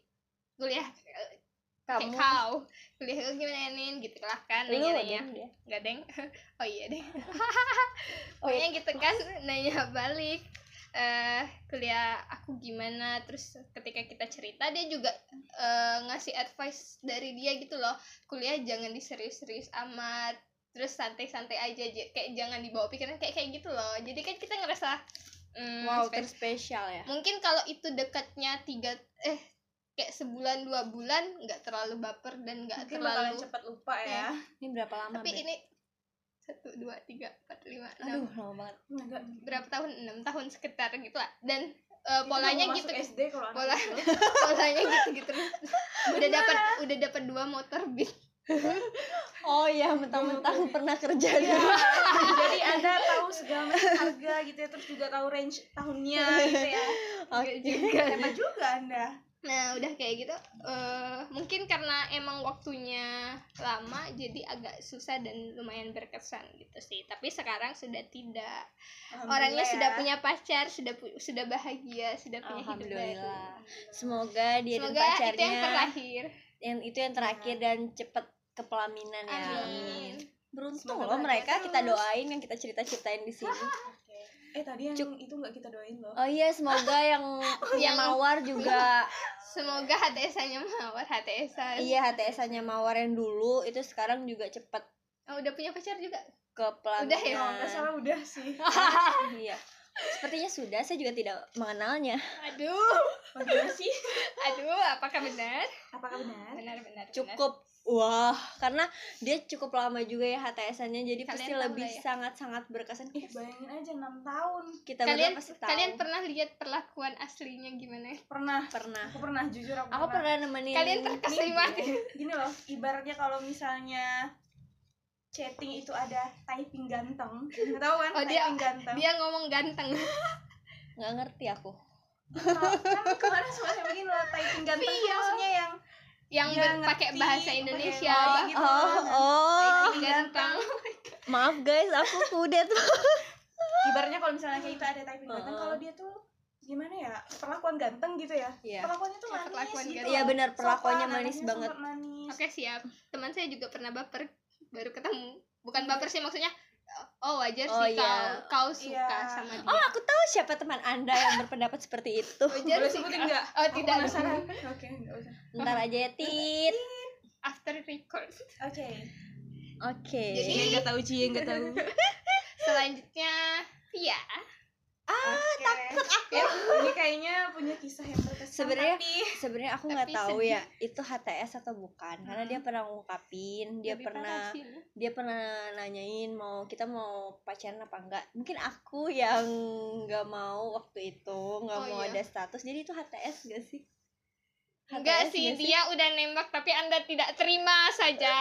Speaker 2: Kuliah kayak
Speaker 1: kamu
Speaker 2: kau. Kuliah lu gimana Nin gitu lah kan
Speaker 1: lu
Speaker 2: nanya-nanya.
Speaker 1: dong dia.
Speaker 2: Enggak, Deng. Oh iya, Deng.
Speaker 1: oh iya
Speaker 2: Pokoknya gitu kan nanya balik eh kuliah aku gimana terus ketika kita cerita dia juga eh, ngasih advice dari dia gitu loh kuliah jangan diserius-serius amat terus santai-santai aja j- kayak jangan dibawa pikiran kayak kayak gitu loh jadi kan kita ngerasa mm,
Speaker 1: wow
Speaker 2: spes-
Speaker 1: terspesial ya
Speaker 2: mungkin kalau itu dekatnya tiga eh kayak sebulan dua bulan nggak terlalu baper dan nggak
Speaker 3: mungkin bakalan
Speaker 2: terlalu eh,
Speaker 3: cepat lupa ya
Speaker 1: ini berapa lama
Speaker 2: tapi
Speaker 1: Beb?
Speaker 2: ini satu dua tiga empat lima enam
Speaker 1: aduh lama banget
Speaker 3: Enggak.
Speaker 2: berapa tahun enam tahun sekitar gitu lah dan eh,
Speaker 3: Itu
Speaker 2: polanya
Speaker 3: mau
Speaker 2: gitu
Speaker 3: masuk SD kalau anak
Speaker 2: pola
Speaker 3: itu.
Speaker 2: polanya gitu gitu udah dapat udah dapat dua motor bis
Speaker 1: oh iya mentang-mentang pernah kerja
Speaker 2: Iya,
Speaker 1: dulu
Speaker 3: jadi anda tahu segala macam harga gitu ya terus juga tahu range tahunnya gitu ya
Speaker 1: Oke.
Speaker 2: juga
Speaker 3: hebat juga anda
Speaker 2: nah udah kayak gitu eh mungkin karena emang waktunya lama jadi agak susah dan lumayan berkesan gitu sih tapi sekarang sudah tidak orangnya
Speaker 3: Alhamdulillah
Speaker 2: sudah
Speaker 3: ya.
Speaker 2: punya pacar sudah pu- sudah bahagia sudah punya hidup baru
Speaker 1: alhamdulillah semoga dia dan
Speaker 2: semoga
Speaker 1: pacarnya
Speaker 2: itu yang terakhir
Speaker 1: yang itu yang terakhir dan cepet ke pelaminan ya
Speaker 2: amin
Speaker 1: beruntung
Speaker 3: Semoga
Speaker 1: loh
Speaker 3: bahagia
Speaker 1: mereka kita
Speaker 3: terus.
Speaker 1: doain yang kita cerita ceritain di sini
Speaker 3: Oke. eh tadi yang
Speaker 1: Cuk-
Speaker 3: itu nggak kita doain loh
Speaker 1: oh iya semoga yang punya
Speaker 2: Oh, Yang-
Speaker 1: mawar juga
Speaker 2: semoga HTS-nya mawar HTS-an
Speaker 1: iya HTS-nya mawar yang dulu itu sekarang juga cepet
Speaker 2: Oh, udah punya pacar juga?
Speaker 1: ke pelaminan
Speaker 2: Udah ya,
Speaker 3: kalau nggak salah udah sih
Speaker 1: iya sepertinya sudah saya juga tidak mengenalnya
Speaker 2: Aduh,
Speaker 3: Bagaimana sih
Speaker 2: aduh, apakah benar?
Speaker 3: apakah benar
Speaker 2: Benar, benar.
Speaker 1: cukup wah karena dia cukup lama juga ya HTS-nya jadi
Speaker 2: Kalian
Speaker 1: pasti
Speaker 2: tahu
Speaker 1: lebih
Speaker 2: nggak ya?
Speaker 1: sangat-sangat berkesan
Speaker 3: ih bayangin aja enam tahun
Speaker 1: kita
Speaker 2: benar. Kalian
Speaker 1: berdua pasti tahu
Speaker 2: kalian pernah lihat perlakuan aslinya gimana?
Speaker 3: pernah
Speaker 1: pernah
Speaker 3: aku pernah jujur aku,
Speaker 1: aku pernah nemenin
Speaker 2: Kalian terkesima mati.
Speaker 3: Gini- gini loh ibaratnya kalau misalnya chatting itu ada typing ganteng nggak tahu kan
Speaker 2: Oh, dia-
Speaker 3: typing ganteng
Speaker 2: Dia ngomong ganteng.
Speaker 1: nggak ngerti aku
Speaker 3: Kalau- kan kemarin sempat begini loh typing ganteng tuh
Speaker 2: Iya.
Speaker 3: maksudnya yang
Speaker 2: Yang
Speaker 3: Dia
Speaker 2: ber- pakai
Speaker 3: Iya, ngerti,
Speaker 2: bahasa
Speaker 3: pakai
Speaker 2: Indonesia.
Speaker 3: bahasa
Speaker 2: Bah-
Speaker 3: Gitu
Speaker 1: oh
Speaker 3: kan.
Speaker 1: oh
Speaker 2: Typing ganteng.
Speaker 1: maaf guys aku kudet
Speaker 3: ibaratnya kalau misalnya kita ada typing ganteng
Speaker 1: Heeh.
Speaker 3: kalau dia tuh gimana ya perlakuan ganteng gitu ya
Speaker 1: Iya.
Speaker 3: perlakuannya tuh
Speaker 2: Ya,
Speaker 3: manis
Speaker 2: perlakuan
Speaker 3: gitu
Speaker 2: ganteng.
Speaker 1: Iya,
Speaker 3: loh.
Speaker 1: benar,
Speaker 3: Sopan,
Speaker 1: perlakuannya
Speaker 3: anaknya
Speaker 1: manis
Speaker 3: sempat
Speaker 1: banget.
Speaker 3: manis
Speaker 2: Oke, siap. Teman saya juga pernah baper baru ketemu. Bukan baper sih maksudnya Oh wajar
Speaker 1: Oh,
Speaker 2: sih
Speaker 1: iya.
Speaker 2: kau kau suka
Speaker 3: Iya.
Speaker 2: sama dia.
Speaker 1: oh aku tahu siapa teman anda yang berpendapat seperti itu
Speaker 2: wajar
Speaker 3: boleh
Speaker 2: sih.
Speaker 3: sebutin
Speaker 2: kau-
Speaker 3: nggak?
Speaker 2: Oh
Speaker 3: Aku
Speaker 2: tidak.
Speaker 3: penasaran. oke nggak usah
Speaker 1: ntar aja ya, tit
Speaker 2: After record.
Speaker 3: oke
Speaker 1: oke
Speaker 2: Jadi-
Speaker 3: Cie nggak tahu cie nggak tahu
Speaker 2: Selanjutnya Via.
Speaker 3: Oke. Ya, ini kayaknya punya kisah yang berkesan
Speaker 1: Sebenarnya-
Speaker 3: tapi
Speaker 1: sebenarnya aku nggak
Speaker 2: Tapi
Speaker 1: tahu
Speaker 2: sedih.
Speaker 1: ya itu HTS atau bukan karena
Speaker 3: Hmm.
Speaker 1: dia pernah ngungkapin dia
Speaker 2: Lebih parah
Speaker 1: pernah
Speaker 2: sih lu.
Speaker 1: dia pernah nanyain mau kita mau pacaran apa enggak mungkin aku yang nggak mau waktu itu nggak
Speaker 2: Oh,
Speaker 1: mau
Speaker 2: iya.
Speaker 1: ada status jadi itu HTS gak sih
Speaker 2: Enggak
Speaker 1: HTS
Speaker 2: sih,
Speaker 1: nggak
Speaker 2: dia udah nembak tapi Anda tidak terima saja.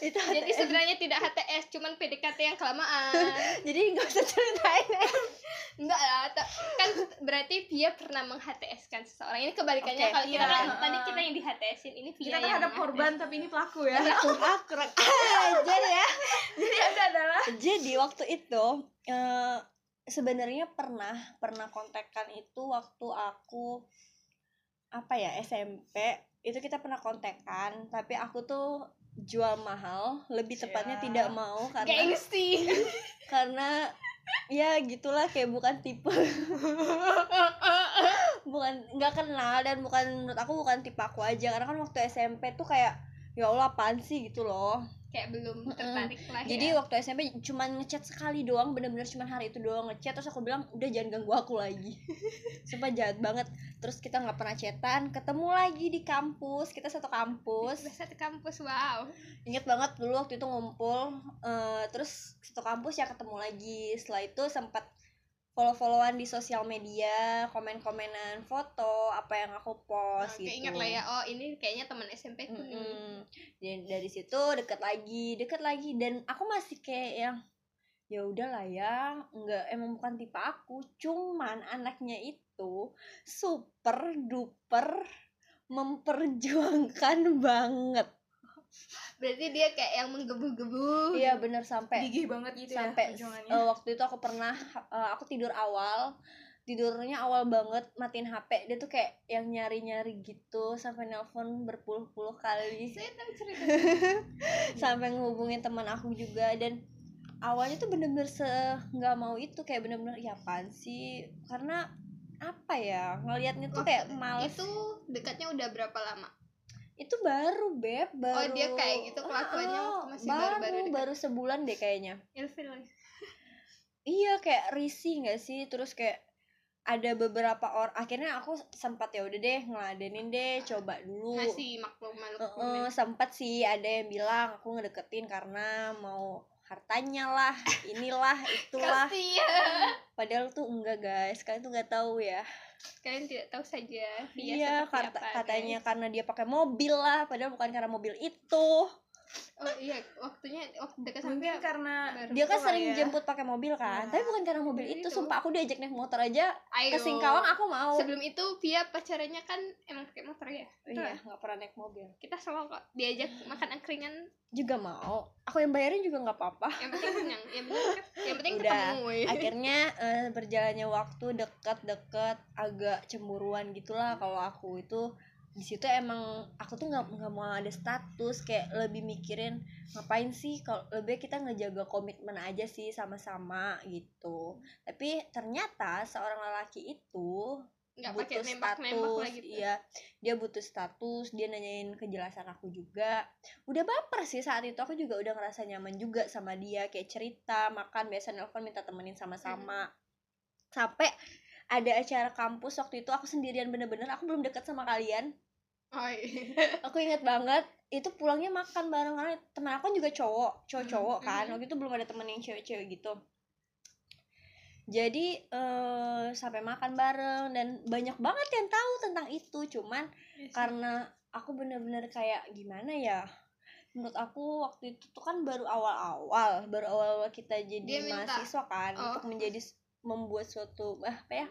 Speaker 1: itu HTS.
Speaker 2: Jadi sebenarnya tidak HTS, cuman PDKT yang kelamaan.
Speaker 1: jadi nggak usah ceritain
Speaker 2: Enggak lah, ta- kan berarti dia pernah meng-HTS-kan kan seseorang. Ini kebalikannya
Speaker 1: Oke,
Speaker 2: kalau kita
Speaker 3: iya.
Speaker 2: kan tadi kita yang di-HTS-in, ini dia
Speaker 3: kita
Speaker 2: yang
Speaker 3: terhadap
Speaker 2: meng-
Speaker 3: korban tapi ini pelaku ya
Speaker 1: aku akrab aja ya
Speaker 3: jadi anda adalah
Speaker 1: jadi waktu itu eh, sebenarnya pernah pernah kontekan itu waktu aku apa ya SMP itu kita pernah kontekan tapi aku tuh jual mahal lebih tepatnya
Speaker 3: Ya.
Speaker 1: tidak mau karena
Speaker 2: Gengsi.
Speaker 1: karena ya gitulah kayak bukan tipe bukan nggak kenal dan bukan menurut aku bukan tipe aku aja karena kan waktu SMP tuh kayak ya Allah apaan sih gitu loh
Speaker 2: kayak belum
Speaker 1: Mm-mm.
Speaker 2: tertarik lah ya.
Speaker 1: Jadi waktu SMP cuman ngechat sekali doang, bener-bener cuman hari itu doang ngechat terus aku bilang udah jangan ganggu aku lagi. Sumpah jahat banget. Terus kita nggak pernah chatan, ketemu lagi di kampus, kita satu kampus.
Speaker 2: Bahasa di kampus wow
Speaker 1: Ingat banget dulu waktu itu ngumpul, eh, terus satu kampus ya ketemu lagi. Setelah itu sempat follow-followan di sosial media, komen-komenan foto apa yang aku
Speaker 2: Oke,
Speaker 1: post gitu.
Speaker 2: ingat lah ya oh ini kayaknya teman SMP ku nih.
Speaker 1: Mm-mm. Dan dari situ deket lagi, deket lagi dan aku masih kayak yang ya udahlah ya, nggak emang bukan tipe aku, cuman anaknya itu super duper memperjuangkan banget.
Speaker 2: berarti dia kayak yang menggebu-gebu
Speaker 1: Iya bener sampai
Speaker 3: gigih banget Oh, gitu
Speaker 1: sampai
Speaker 3: ya perjuangannya.
Speaker 1: eh, waktu itu aku pernah eh, aku tidur awal tidurnya awal banget matiin HP dia tuh kayak yang nyari-nyari gitu sampai nelpon berpuluh-puluh kali
Speaker 2: saya tahu cerita
Speaker 1: sampai ngehubungin teman aku juga dan awalnya tuh bener-bener se nggak mau itu kayak bener-bener ya apaan sih karena apa ya ngelihatnya tuh
Speaker 2: Waktu
Speaker 1: kayak males itu,
Speaker 2: itu dekatnya udah berapa lama
Speaker 1: baru beb baru
Speaker 2: dia kayak gitu kelakuannya waktu
Speaker 1: Ah,
Speaker 2: masih
Speaker 1: baru
Speaker 2: baru-baru dekat.
Speaker 1: baru sebulan deh kayaknya
Speaker 2: ilfil lagi.
Speaker 1: iya kayak risih nggak sih terus kayak ada beberapa orang akhirnya aku sempat ya udah deh ngeladenin deh coba dulu
Speaker 2: masih maklum
Speaker 1: Heeh,
Speaker 2: maklum
Speaker 1: sempat sih ada yang bilang aku ngedeketin karena mau hartanya lah, inilah, itulah.
Speaker 2: kasihan
Speaker 1: Padahal tuh enggak guys, kalian tuh nggak tahu ya.
Speaker 2: kalian tidak tahu saja dia
Speaker 1: Iya,
Speaker 2: seperti
Speaker 1: kata-
Speaker 2: apa, kan?
Speaker 1: katanya
Speaker 2: guys.
Speaker 1: karena dia pakai mobil lah, padahal bukan karena mobil itu.
Speaker 2: oh iya waktunya waktu dekat
Speaker 3: Mungkin
Speaker 2: sampai
Speaker 3: karena
Speaker 2: baru.
Speaker 1: Dia kan
Speaker 3: Betul lah
Speaker 1: sering
Speaker 3: ya.
Speaker 1: jemput pakai mobil kan,
Speaker 3: Nah,
Speaker 1: tapi bukan karena mobil
Speaker 2: mobil
Speaker 1: itu.
Speaker 2: itu.
Speaker 1: Sumpah aku diajak naik motor aja
Speaker 2: Ayo.
Speaker 1: ke Singkawang aku mau.
Speaker 2: sebelum itu dia pacarannya kan emang pakai motor ya
Speaker 1: Iya, nggak pernah naik mobil.
Speaker 2: kita selalu kok diajak makan angkringan
Speaker 1: Juga mau. Aku yang bayarin juga nggak apa-apa.
Speaker 2: yang penting kenyang yang penting yang penting
Speaker 1: Udah.
Speaker 2: ketemu ya.
Speaker 1: akhirnya eh, berjalannya waktu dekat-dekat agak cemburuan gitulah kalau aku itu di situ emang aku tuh nggak nggak mau ada status kayak lebih mikirin ngapain sih kalau lebih kita ngejaga komitmen aja sih sama-sama gitu tapi ternyata seorang lelaki itu
Speaker 2: nggak pakai
Speaker 1: butuh
Speaker 2: nembak nembak
Speaker 1: status
Speaker 2: lagi gitu
Speaker 1: iya dia butuh status dia nanyain kejelasan aku juga udah baper sih saat itu aku juga udah ngerasa nyaman juga sama dia kayak cerita makan biasa nelpon minta temenin sama-sama
Speaker 2: Hmm.
Speaker 1: sampai ada acara kampus waktu itu aku sendirian bener-bener aku belum deket sama kalian
Speaker 2: oh, iya.
Speaker 1: aku inget banget itu pulangnya makan bareng karena teman aku kan juga cowok cowok cowok
Speaker 2: Mhm,
Speaker 1: kan
Speaker 2: mhm.
Speaker 1: waktu itu belum ada temen yang cewek-cewek gitu jadi eh, sampai makan bareng dan banyak banget yang tahu tentang itu cuman
Speaker 2: Iya
Speaker 1: karena aku bener-bener kayak gimana ya menurut aku waktu itu tuh kan baru awal-awal baru awal-awal kita jadi
Speaker 2: Dia minta-
Speaker 1: mahasiswa kan
Speaker 2: Oh.
Speaker 1: untuk menjadi membuat suatu ah, apa ya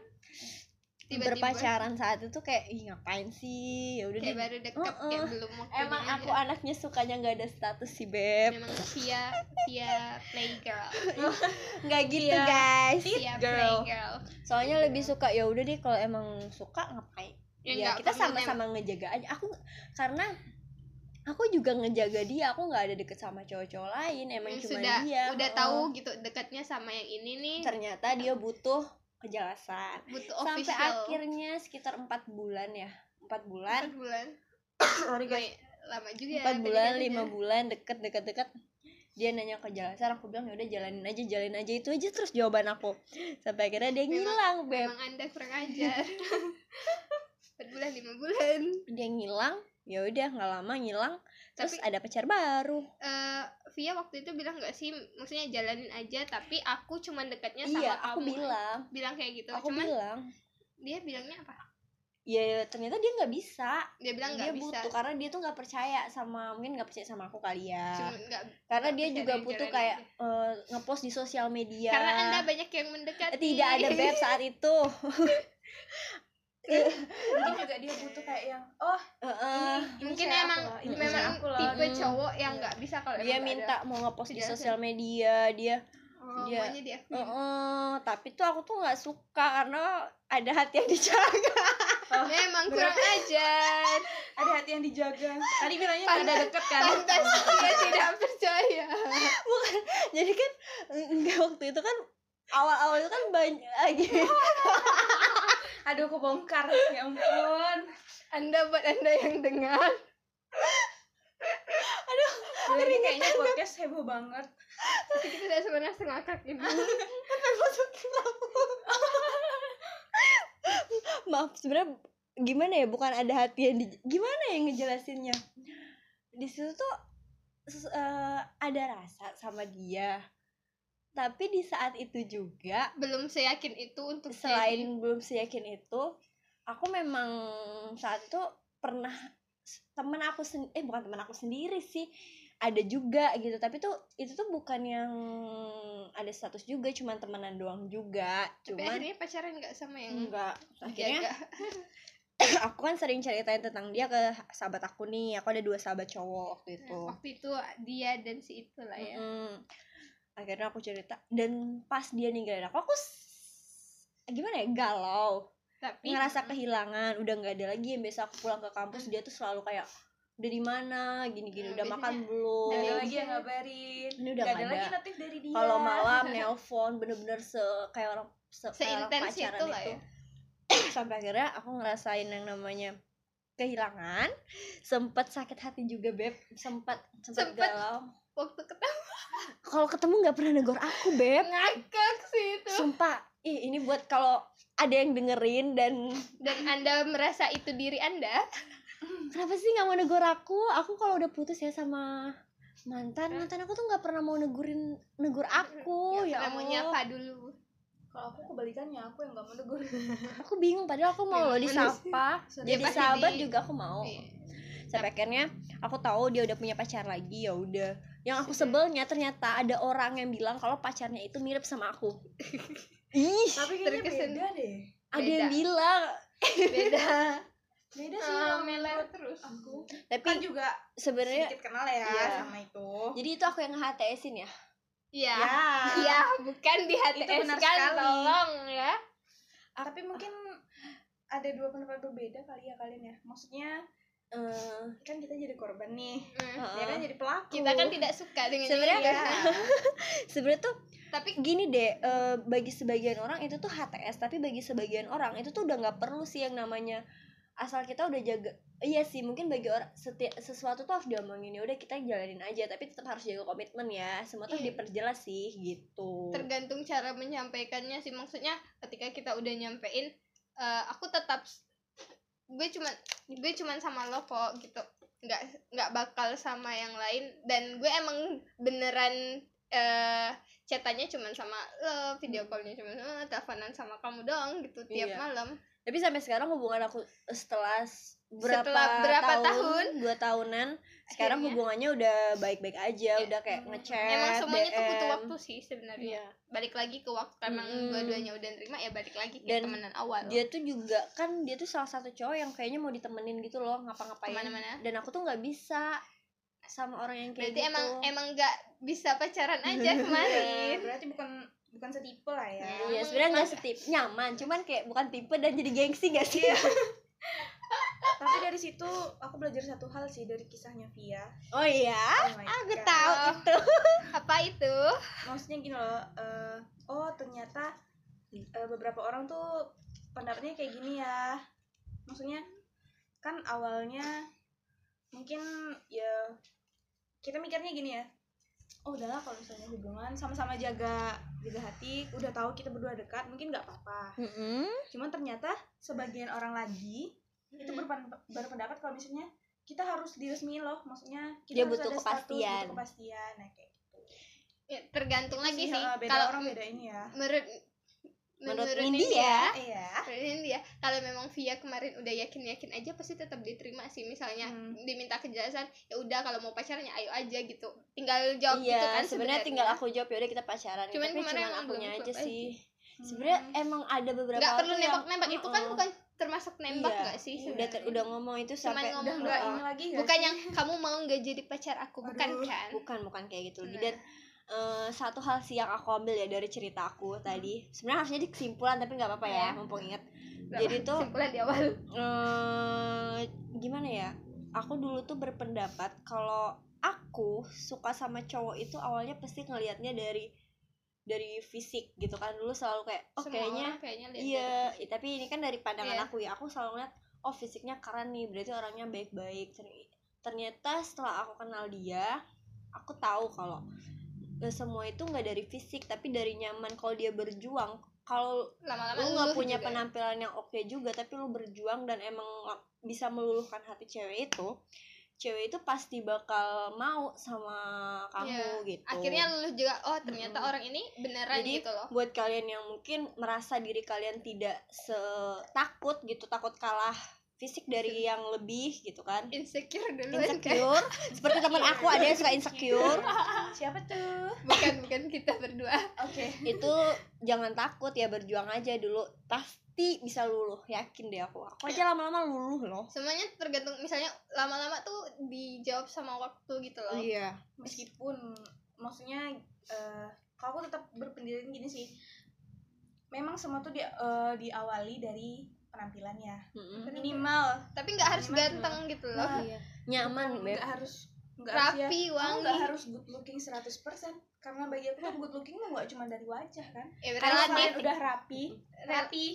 Speaker 2: Tiba-tiba.
Speaker 1: berpacaran saat itu kayak Ih, ngapain sih ya udah
Speaker 2: kayak
Speaker 1: deh
Speaker 2: baru deket kayak belum waktunya
Speaker 1: Emang
Speaker 2: aja.
Speaker 1: aku anaknya sukanya nggak ada status sih beb,
Speaker 2: memang via via playgirl
Speaker 1: nggak gitu
Speaker 3: Iya.
Speaker 1: guys.
Speaker 2: via
Speaker 1: girl.
Speaker 2: playgirl
Speaker 1: Soalnya lebih suka ya udah deh kalau emang suka ngapain? Ya,
Speaker 2: nggak
Speaker 1: kita
Speaker 2: perlu nembak.
Speaker 1: sama-sama ngejaga aja. Aku karena aku juga ngejaga dia, aku nggak ada deket sama cowok-cowok lain, emang
Speaker 2: Yang
Speaker 1: cuma
Speaker 2: Hmm, sudah
Speaker 1: dia.
Speaker 2: udah
Speaker 1: Heeh.
Speaker 2: tahu gitu dekatnya sama yang ini nih
Speaker 1: Ternyata dia butuh kejelasan.
Speaker 2: butuh
Speaker 1: Sampai
Speaker 2: official
Speaker 1: akhirnya sekitar empat bulan ya, empat bulan.
Speaker 2: Empat bulan
Speaker 1: Sorry
Speaker 2: Lumayan lama juga
Speaker 1: empat bulan
Speaker 2: kedekannya.
Speaker 1: lima bulan deket deket deket dia nanya ke jelasan aku bilang ya udah jalanin aja jalanin aja itu aja terus jawaban aku sampai akhirnya dia
Speaker 2: Memang-
Speaker 1: ngilang beb
Speaker 2: Emang anda kurang ajar Empat bulan, lima bulan
Speaker 1: dia ngilang ya udah nggak lama ngilang terus
Speaker 2: Tapi
Speaker 1: ada pacar baru
Speaker 2: eh, Via waktu itu bilang gak sih Maksudnya jalanin aja Tapi aku cuman dekatnya sama
Speaker 1: iya
Speaker 2: kamu
Speaker 1: aku bilang
Speaker 2: Bilang kayak gitu
Speaker 1: aku
Speaker 2: Cuman
Speaker 1: bilang
Speaker 2: dia bilangnya apa?
Speaker 1: ya ternyata dia nggak bisa
Speaker 2: Dia bilang
Speaker 1: dia
Speaker 2: gak bisa
Speaker 1: butuh kan. karena dia tuh nggak percaya sama mungkin nggak percaya sama aku kali ya
Speaker 2: Cuman nggak-
Speaker 1: karena
Speaker 2: nggak
Speaker 1: dia
Speaker 2: percaya
Speaker 1: juga
Speaker 2: dia
Speaker 1: butuh
Speaker 2: jalanin
Speaker 1: kayak eh, ngepost di sosial media
Speaker 2: Karena anda banyak yang mendekati
Speaker 1: Ya. tidak ada beb saat itu
Speaker 3: Mungkin juga dia butuh kayak yang oh
Speaker 1: Heeh.
Speaker 3: ini
Speaker 2: Mungkin
Speaker 3: cewek aku
Speaker 2: emang
Speaker 3: loh, ini
Speaker 2: Memang
Speaker 3: cewek aku loh.
Speaker 2: tipe
Speaker 1: Hmm.
Speaker 2: cowok yang gak bisa kalau
Speaker 1: dia
Speaker 2: emang kan nggak ada.
Speaker 1: minta mau ngepost di
Speaker 2: kejelasan.
Speaker 1: sosial media dia
Speaker 2: Oh,
Speaker 1: dia-
Speaker 2: maunya dia
Speaker 1: "Heeh, tapi tuh aku tuh nggak suka karena ada hati yang dijaga
Speaker 2: Memang kurang ajar
Speaker 3: ada hati yang dijaga tadi bilangnya
Speaker 2: Pantas-
Speaker 3: ada deket kan
Speaker 2: Pantas dia tidak percaya
Speaker 1: jadi kan enggak waktu itu kan awal-awal itu kan banyak lagi
Speaker 3: aduh aku bongkar ya ampun
Speaker 2: Anda buat anda yang dengar
Speaker 3: Bener, ini kayaknya podcast heboh banget
Speaker 2: Tapi kita udah sebenarnya ngakak gitu
Speaker 1: Ah. maaf sebenarnya gimana ya bukan ada hati yang di- gimana ya ngejelasinnya di situ tuh ses- eh, ada rasa sama dia tapi di saat itu juga
Speaker 2: belum seyakin itu untuk jadi-
Speaker 1: selain belum seyakin itu aku memang saat itu pernah teman aku sen- eh bukan teman aku sendiri sih ada juga gitu tapi tuh itu tuh bukan yang ada status juga cuman temenan doang juga
Speaker 2: tapi
Speaker 1: cuman
Speaker 2: akhirnya pacaran nggak sama yang
Speaker 1: enggak akhirnya
Speaker 2: jaga
Speaker 1: aku kan sering ceritain tentang dia ke sahabat aku nih aku ada dua sahabat cowok waktu itu
Speaker 2: waktu itu dia dan si itu lah ya
Speaker 1: Oh. Mm-mm. akhirnya aku cerita dan pas dia ninggalin aku aku s- gimana ya galau
Speaker 2: tapi
Speaker 1: ngerasa kehilangan udah nggak ada lagi yang biasa aku pulang ke kampus dia tuh selalu kayak udah di mana gini gini
Speaker 2: Hmm,
Speaker 1: udah
Speaker 2: biasanya
Speaker 1: makan
Speaker 3: Gak
Speaker 1: belum
Speaker 3: ada
Speaker 2: Iya.
Speaker 3: lagi yang ngabarin
Speaker 1: Ini udah
Speaker 3: Gak ada
Speaker 1: nggak
Speaker 3: lagi
Speaker 1: ada.
Speaker 3: notif dari dia
Speaker 1: kalau malam nelpon bener-bener se kayak orang se kayak orang
Speaker 2: Seintens
Speaker 1: pacaran
Speaker 2: itu lah ya.
Speaker 1: sampai akhirnya aku ngerasain yang namanya kehilangan sempet sakit hati juga beb sempet sempet,
Speaker 2: Sempet.
Speaker 1: galau
Speaker 2: waktu ketemu
Speaker 1: kalau ketemu nggak pernah negor aku beb
Speaker 2: ngakak sih itu
Speaker 1: sumpah ih ini buat kalau ada yang dengerin dan
Speaker 2: dan anda merasa itu diri anda
Speaker 1: kenapa sih nggak mau negor aku aku kalau udah putus ya sama mantan mantan aku tuh nggak pernah mau negurin negor aku ya,
Speaker 2: pernah mau
Speaker 1: Allah
Speaker 2: nyapa dulu
Speaker 3: Kalau aku kebalikannya aku yang gak mau negur
Speaker 1: aku bingung padahal aku mau loh
Speaker 2: Bener
Speaker 1: disapa
Speaker 3: Sorry.
Speaker 2: Dia
Speaker 1: jadi
Speaker 2: pasti
Speaker 1: sahabat
Speaker 2: di-
Speaker 1: juga aku mau
Speaker 2: Iya.
Speaker 1: sampai akhirnya aku tahu dia udah punya pacar lagi ya udah yang aku sebelnya ternyata ada orang yang bilang kalau pacarnya itu mirip sama aku ih
Speaker 3: Tapi kayaknya
Speaker 2: Terkesan.
Speaker 3: beda deh
Speaker 1: ada yang
Speaker 2: beda.
Speaker 1: bilang
Speaker 2: beda
Speaker 3: Beda
Speaker 1: Iya.
Speaker 3: sih
Speaker 2: Eh,
Speaker 3: kalau
Speaker 2: meler
Speaker 3: menurut
Speaker 2: terus
Speaker 3: aku Kan
Speaker 1: tapi
Speaker 3: juga
Speaker 1: sebenarnya
Speaker 3: sedikit kenal ya
Speaker 1: Iya.
Speaker 3: sama itu
Speaker 1: jadi itu aku yang HTSin ya
Speaker 2: iya iya bukan di hati kan
Speaker 3: benar sekali.
Speaker 2: tolong ya
Speaker 3: Tapi mungkin ada dua pendapat berbeda kali ya kalian ya Maksudnya
Speaker 1: Eh,
Speaker 3: kan kita jadi korban nih
Speaker 2: Mm.
Speaker 1: heeh.
Speaker 3: Dia kan jadi pelaku Iya.
Speaker 2: kita kan tidak suka dengan
Speaker 1: Hmm. Sebenarnya-
Speaker 2: dia
Speaker 1: sebenarnya tuh
Speaker 2: tapi
Speaker 1: gini deh eh, bagi sebagian orang itu tuh HTS tapi bagi sebagian orang itu tuh udah nggak perlu sih yang namanya asal kita udah jaga iya sih mungkin bagi orang setiap sesuatu tuh harus diomongin ya udah kita jalanin aja tapi tetap harus jaga komitmen ya semua tuh
Speaker 2: Iya.
Speaker 1: diperjelas sih gitu
Speaker 2: tergantung cara menyampaikannya sih maksudnya ketika kita udah nyampein eh, aku tetap gue cuman gue cuman sama lo kok gitu nggak nggak bakal sama yang lain dan gue emang beneran eh chatanya cuman sama lo video callnya cuman sama lo, teleponan sama kamu doang gitu tiap
Speaker 1: Hmm. Iya.
Speaker 2: malam
Speaker 1: tapi sampai sekarang hubungan aku setelah s- berapa,
Speaker 2: Setelah berapa tahun?
Speaker 1: dua tahunan sekarang
Speaker 2: Akhirnya.
Speaker 1: hubungannya udah baik-baik
Speaker 2: Iya.
Speaker 1: aja Ya udah kayak ngechat
Speaker 2: emang semuanya tuh butuh
Speaker 1: DM.
Speaker 2: waktu sih sebenarnya
Speaker 1: Iya.
Speaker 2: balik lagi ke waktu emang
Speaker 1: Mm-mm.
Speaker 2: dua-duanya udah nerima ya balik lagi ke
Speaker 1: Dan
Speaker 2: temenan awal
Speaker 1: dia tuh juga kan dia tuh salah satu cowok yang kayaknya mau ditemenin gitu loh ngapa-ngapain
Speaker 2: Kemana-mana.
Speaker 1: dan aku tuh nggak bisa sama orang yang kayak
Speaker 2: berarti
Speaker 1: gitu
Speaker 2: emang emang nggak bisa pacaran aja
Speaker 3: Iya,
Speaker 2: kemarin
Speaker 3: Berarti bukan bukan setipe lah ya
Speaker 2: Iya.
Speaker 1: Iya sebenarnya nggak setip nyaman cuman kayak bukan tipe dan jadi gengsi gak sih
Speaker 2: Iya.
Speaker 3: Tapi dari situ aku belajar satu hal sih dari kisahnya Via
Speaker 1: oh iya
Speaker 3: Oh my
Speaker 2: aku
Speaker 3: God.
Speaker 2: tahu
Speaker 1: itu
Speaker 2: apa itu
Speaker 3: maksudnya gini loh eh, oh ternyata eh, beberapa orang tuh pendapatnya kayak gini ya maksudnya kan awalnya mungkin ya kita mikirnya gini ya oh udahlah kalau misalnya hubungan sama-sama jaga jaga hati udah tahu kita berdua dekat mungkin nggak apa-apa cuman ternyata sebagian orang lagi itu
Speaker 2: Hmm.
Speaker 3: berpen- berpendapat kalau misalnya kita harus diresmi loh maksudnya kita
Speaker 1: Dia
Speaker 3: harus
Speaker 1: Ya, butuh
Speaker 3: ada status,
Speaker 1: kepastian.
Speaker 3: butuh kepastian nah kayak gitu
Speaker 2: Ya, tergantung
Speaker 1: Iya,
Speaker 2: lagi sih
Speaker 3: eh, beda
Speaker 2: kalau
Speaker 3: orang beda ini ya
Speaker 2: menurut
Speaker 1: Menurut
Speaker 2: menurutin
Speaker 1: Indi ya.
Speaker 3: iya
Speaker 2: menurutin dia kalau memang via kemarin udah yakin yakin aja pasti tetap diterima sih misalnya
Speaker 3: Hmm.
Speaker 2: diminta kejelasan ya udah kalau mau pacarnya ayo aja gitu tinggal jawab
Speaker 1: iya
Speaker 2: gitu kan
Speaker 1: sebenarnya tinggal aku jawab ya udah kita pacaran
Speaker 2: Cuman
Speaker 1: tapi
Speaker 2: kemarin
Speaker 1: cuman
Speaker 2: emang
Speaker 1: akunya
Speaker 2: belum
Speaker 1: aja
Speaker 2: klop aja.
Speaker 1: sih sebenarnya
Speaker 3: Hmm.
Speaker 1: emang ada beberapa
Speaker 2: nggak perlu
Speaker 1: tuh yang-
Speaker 2: nembak nembak itu kan
Speaker 1: Mm-mm.
Speaker 2: bukan termasuk nembak
Speaker 1: Iya,
Speaker 2: nggak sih
Speaker 1: udah ter-
Speaker 2: sebenarnya?
Speaker 1: udah ngomong itu
Speaker 2: Cuman
Speaker 1: sampai
Speaker 2: ngomong
Speaker 3: udah nggak ini lagi nggak
Speaker 2: bukan
Speaker 3: sih?
Speaker 2: yang kamu mau nggak jadi pacar aku bukan
Speaker 3: Aduh.
Speaker 2: kan
Speaker 1: bukan bukan kayak gitu lagi
Speaker 2: Nah.
Speaker 1: dan eh, satu hal sih yang aku ambil ya dari cerita aku tadi sebenarnya harusnya di kesimpulan tapi nggak apa-apa ya
Speaker 2: Hmm. Iya.
Speaker 1: mumpung inget
Speaker 2: Nggak
Speaker 1: jadi tuh
Speaker 2: kesimpulan di awal
Speaker 1: eh gimana ya aku dulu tuh berpendapat kalau aku suka sama cowok itu awalnya pasti ngelihatnya dari dari fisik gitu kan dulu selalu kayak oh
Speaker 2: Semua
Speaker 1: kayaknya
Speaker 2: orang kayaknya lihat
Speaker 1: iya i- tapi ini kan dari pandangan
Speaker 2: Iya.
Speaker 1: aku ya aku selalu ngeliat oh fisiknya keren nih berarti orangnya baik-baik Ter- ternyata setelah aku kenal dia aku tahu kalau eh, semua itu nggak dari fisik tapi dari nyaman kalau dia berjuang kalau
Speaker 2: lama-lama
Speaker 1: lu nggak
Speaker 2: luluh
Speaker 1: punya
Speaker 2: juga. ya.
Speaker 1: penampilan yang oke juga tapi lu berjuang dan emang lak- bisa meluluhkan hati cewek itu cewek itu pasti bakal mau sama kamu gitu
Speaker 2: akhirnya luluh juga oh ternyata
Speaker 1: Mm-mm.
Speaker 2: orang ini beneran
Speaker 1: Jadi,
Speaker 2: gitu loh
Speaker 1: buat kalian yang mungkin merasa diri kalian tidak setakut gitu takut kalah fisik dari yang lebih gitu kan
Speaker 2: Iya, insecure dulu
Speaker 1: insecure seperti teman aku ada yang suka insecure
Speaker 3: Siapa tuh?
Speaker 2: kan? bukan bukan kita berdua
Speaker 3: Oke.
Speaker 1: itu jangan takut ya berjuang aja dulu pasti bisa luluh yakin deh aku aku aja lama-lama luluh loh
Speaker 2: semuanya tergantung misalnya lama-lama tuh dijawab sama waktu gitu loh
Speaker 1: iya
Speaker 3: Meskipun maksudnya eh kalau aku tetap berpendirian gini sih. Memang semua tuh di, eh, diawali dari penampilannya. Minimal
Speaker 2: tapi nggak harus
Speaker 3: Gimana?
Speaker 2: ganteng gitu loh
Speaker 3: Iya.
Speaker 1: nyaman Beb.
Speaker 3: nggak harus nggak harus ya.
Speaker 2: rapi
Speaker 3: Kamu
Speaker 2: wangi
Speaker 3: nggak harus good looking 100% karena bagi aku tuh good looking mah nggak cuma dari wajah kan.
Speaker 2: ya,
Speaker 3: Kalau
Speaker 2: relatif
Speaker 3: kalian udah rapi, hmm.
Speaker 2: rapi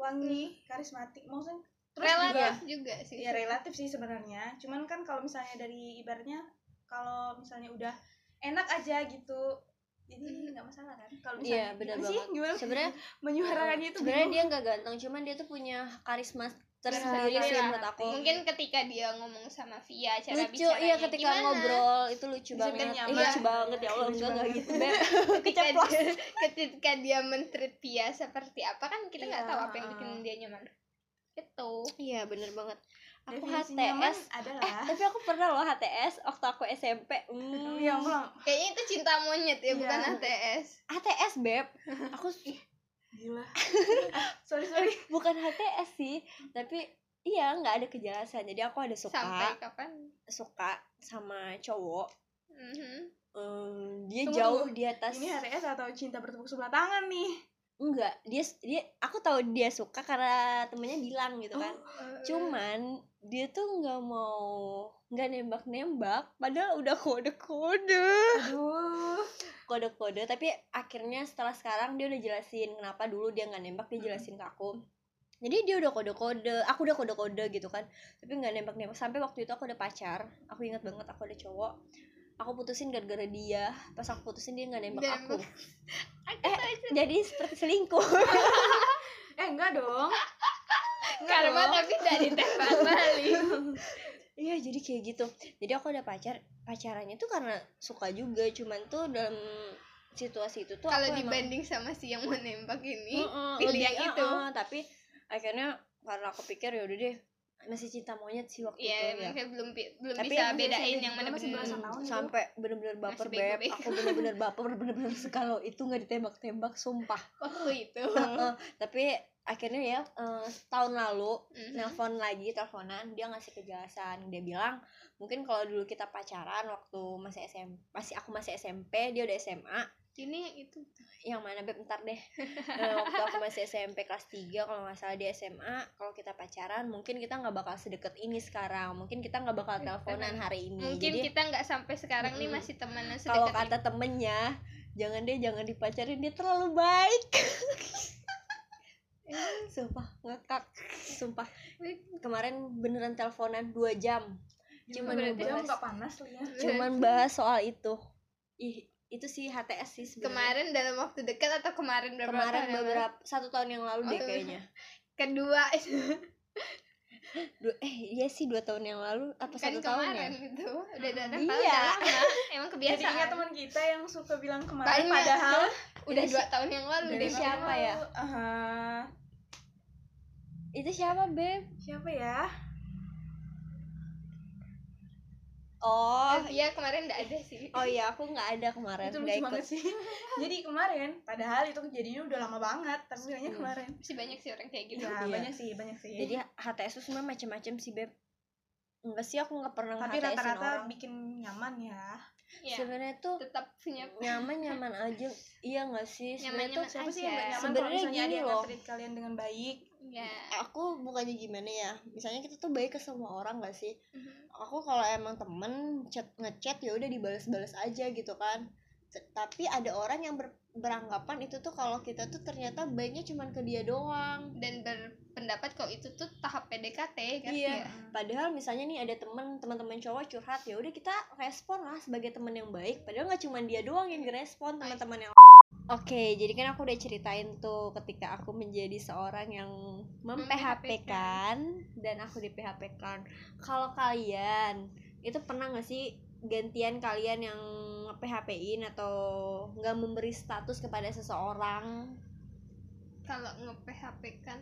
Speaker 3: wangi, karismatik, maksudnya terus juga
Speaker 2: relatif juga sih
Speaker 3: ya relatif sih sebenarnya cuman kan kalau misalnya dari ibaratnya kalau misalnya udah enak aja gitu jadi nggak masalah kan kalau misalnya
Speaker 1: Hmm. Iya, benar
Speaker 3: gimana sih
Speaker 1: banget.
Speaker 3: gimana
Speaker 1: sebenarnya
Speaker 3: menyuarakannya itu
Speaker 1: sebenarnya
Speaker 3: bingung.
Speaker 1: dia nggak ganteng cuman dia tuh punya karisma tersendiri
Speaker 2: Tersendiri
Speaker 1: sih
Speaker 2: lah.
Speaker 1: menurut aku
Speaker 2: mungkin ketika dia ngomong sama Via cara
Speaker 1: lucu
Speaker 2: bicaranya
Speaker 1: iya ketika
Speaker 2: gimana
Speaker 1: ngobrol itu lucu
Speaker 3: Bisa
Speaker 1: banget
Speaker 3: bikin
Speaker 1: Ih,
Speaker 3: nyaman.
Speaker 1: lucu banget ya Allah
Speaker 3: Lucu
Speaker 1: enggak enggak
Speaker 3: banget.
Speaker 1: gitu Beb
Speaker 2: ketika
Speaker 1: Keceplos.
Speaker 2: dia, ketika dia mentreat Via seperti apa kan kita nggak
Speaker 3: Iya,
Speaker 2: tahu apa yang
Speaker 3: ha-ha.
Speaker 2: bikin dia nyaman gitu
Speaker 1: iya bener banget aku
Speaker 3: Definisi nyaman
Speaker 1: HTS eh
Speaker 3: adalah
Speaker 1: tapi aku pernah loh HTS waktu aku SMP Hmm.
Speaker 3: ya pulang
Speaker 2: kayaknya itu cinta monyet ya
Speaker 3: Iya.
Speaker 2: bukan ATS
Speaker 1: HTS Beb aku s-
Speaker 3: gila sorry sorry
Speaker 1: bukan HTS sih tapi iya nggak ada kejelasan jadi aku ada suka
Speaker 2: sampai kapan
Speaker 1: suka sama cowok
Speaker 2: Mhm.
Speaker 1: Em, dia
Speaker 3: Tunggu,
Speaker 1: jauh
Speaker 3: tunggu.
Speaker 1: di atas
Speaker 3: ini HTS atau cinta bertepuk sebelah tangan nih
Speaker 1: enggak dia dia aku tahu dia suka karena temennya bilang gitu kan
Speaker 3: Oh,
Speaker 1: cuman dia tuh nggak mau nggak nembak nembak padahal udah kode kode
Speaker 3: aduh
Speaker 1: kode kode tapi akhirnya setelah sekarang dia udah jelasin kenapa dulu dia nggak nembak dia jelasin ke aku jadi dia udah kode kode aku udah kode kode gitu kan tapi nggak nembak nembak sampai waktu itu aku ada pacar aku ingat banget aku ada cowok aku putusin gara-gara dia pas aku putusin dia nggak nembak
Speaker 2: Nembak.
Speaker 1: aku Eh,
Speaker 2: Aku tuh
Speaker 1: jadi seperti selingkuh
Speaker 3: eh enggak dong Enggak
Speaker 2: karma
Speaker 3: dong.
Speaker 2: tapi dari ditembak balik
Speaker 1: Iya jadi kayak gitu Jadi aku ada pacar Pacarannya tuh karena suka juga Cuman tuh dalam situasi itu tuh
Speaker 2: kalau
Speaker 1: aku emang- Hmm.
Speaker 2: dibanding sama si yang mau nembak ini
Speaker 1: Mm-mm,
Speaker 2: pilih
Speaker 1: lebih-
Speaker 2: yang itu.
Speaker 1: uh-uh, Tapi akhirnya karena aku pikir yaudah deh Masih cinta monyet sih waktu
Speaker 2: ya
Speaker 1: itu ya.
Speaker 2: emang kayak belum pi- belum
Speaker 1: Tapi
Speaker 2: bisa
Speaker 1: emang
Speaker 2: bedain
Speaker 3: biasa
Speaker 2: yang mana
Speaker 3: masih
Speaker 2: bener
Speaker 3: berasa
Speaker 1: Mm,
Speaker 3: tahun itu.
Speaker 1: sampai bener-bener baper
Speaker 2: Masih bego,
Speaker 1: beb
Speaker 2: bego.
Speaker 1: aku bener-bener baper bener-bener kalau itu nggak ditembak-tembak sumpah
Speaker 3: Oh,
Speaker 2: waktu
Speaker 3: gitu.
Speaker 2: itu
Speaker 1: Uh-uh, tapi akhirnya ya eh, tahun lalu
Speaker 2: Mhm.
Speaker 1: nelpon lagi teleponan dia ngasih kejelasan dia bilang mungkin kalau dulu kita pacaran waktu masih SMP masih aku masih SMP dia udah SMA
Speaker 2: ini yang itu
Speaker 1: yang mana beb ntar deh Eh, waktu aku masih SMP kelas 3 kalau nggak salah dia SMA kalau kita pacaran mungkin kita nggak bakal sedekat ini sekarang mungkin kita nggak bakal teleponan hari ini
Speaker 2: mungkin
Speaker 1: Iya, Jadi,
Speaker 2: kita nggak sampai sekarang nih
Speaker 1: Mm-mm.
Speaker 2: masih temenan
Speaker 1: kalau
Speaker 2: sedekat
Speaker 1: kata temennya jangan deh jangan dipacarin dia terlalu baik sumpah ngakak sumpah kemarin beneran teleponan dua jam Cuman
Speaker 2: Berarti
Speaker 3: jam
Speaker 1: ngebahas
Speaker 3: nggak panas lu ya
Speaker 2: ini.
Speaker 1: cuman bahas soal itu ih itu sih HTS sih sebenarnya
Speaker 2: kemarin dalam waktu dekat atau kemarin berapa
Speaker 1: kemarin
Speaker 2: tahun yang lalu?
Speaker 1: beberapa satu tahun yang lalu deh
Speaker 2: Oh,
Speaker 1: kayaknya
Speaker 2: kedua
Speaker 1: Dua- eh iya sih dua tahun yang lalu apa
Speaker 2: kan
Speaker 1: satu tahun ya
Speaker 2: kemarin gitu udah datang
Speaker 1: Iya.
Speaker 2: tahun udah lama emang
Speaker 3: jadi
Speaker 2: kebiasaan
Speaker 3: ingat teman kita yang suka bilang kemarin
Speaker 2: Banyak.
Speaker 3: padahal
Speaker 2: udah
Speaker 1: Dari
Speaker 2: dua tahun yang lalu
Speaker 1: dari
Speaker 2: deh
Speaker 1: siapa ya?
Speaker 3: Aha.
Speaker 1: itu siapa beb
Speaker 3: siapa ya
Speaker 1: oh
Speaker 2: iya kemarin nggak ada sih
Speaker 1: oh iya aku nggak ada kemarin
Speaker 3: itu lucu
Speaker 1: nggak ikut
Speaker 3: banget sih jadi kemarin padahal itu kejadiannya udah lama banget tapi bilangnya
Speaker 2: Iya.
Speaker 1: Hmm.
Speaker 3: kemarin
Speaker 2: masih banyak sih orang kayak gitu
Speaker 3: ya
Speaker 1: Iya.
Speaker 3: banyak sih banyak sih
Speaker 1: jadi HTS tuh sebenarnya macam-macam sih beb enggak sih aku nggak pernah
Speaker 3: tapi
Speaker 1: HTS-in
Speaker 3: rata-rata
Speaker 1: orang
Speaker 3: bikin nyaman ya
Speaker 2: ya
Speaker 1: sebenarnya tuh
Speaker 2: tetap punya
Speaker 1: nyaman-nyaman aja iya nggak sih sebenarnya tuh
Speaker 2: Nyaman-nyaman
Speaker 3: siapa sih yang
Speaker 2: Aja.
Speaker 3: gak nyaman kalau
Speaker 1: Sebenarnya
Speaker 3: misalnya ada
Speaker 1: gini
Speaker 3: yang
Speaker 1: loh.
Speaker 3: nge-treat kalian dengan baik
Speaker 2: ya
Speaker 1: Eh, aku bukannya gimana ya misalnya kita tuh baik ke semua orang nggak
Speaker 2: Mhm.
Speaker 1: sih aku kalau emang temen chat ngechat ya udah dibales-bales aja gitu kan T- tapi ada orang yang ber- beranggapan itu tuh kalau kita tuh ternyata baiknya cuman ke dia doang
Speaker 2: dan berpendapat kalau itu tuh tahap PDKT kan
Speaker 1: Iya.
Speaker 2: ya.
Speaker 1: padahal misalnya nih ada temen teman-teman cowok curhat ya udah kita respon lah sebagai teman yang baik padahal nggak cuman dia doang yang direspon teman-teman yang Oke, jadi kan aku udah ceritain tuh ketika aku menjadi seorang yang Hmm, mem-PHP-kan kan, dan aku di PHP-kan. kan. Kalau kalian itu pernah nggak sih gantian kalian yang PHP-in atau nggak memberi status kepada seseorang?
Speaker 2: kalau nge PHP kan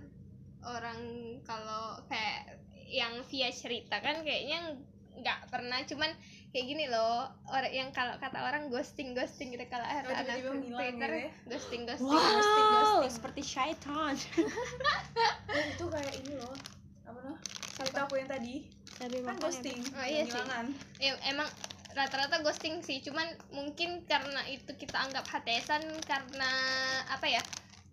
Speaker 2: orang kalau kayak yang via cerita kan kayaknya nggak pernah cuman kayak gini loh orang yang kalau kata orang ghosting ghosting gitu kalau
Speaker 3: Oh,
Speaker 2: anak
Speaker 3: tiba-tiba menghilang
Speaker 2: Twitter
Speaker 3: gitu ya.
Speaker 2: ghosting ghosting ghosting
Speaker 1: Wow,
Speaker 2: ghosting
Speaker 1: seperti syaitan.
Speaker 3: Dan Oh, itu kayak ini loh. Apa loh? Cerita aku yang tadi.
Speaker 1: Tapi ya,
Speaker 3: Kan ghosting.
Speaker 2: Oh, iya sih.
Speaker 3: penghilangan.
Speaker 2: ya, emang rata-rata ghosting sih cuman mungkin karena itu kita anggap hatesan karena apa ya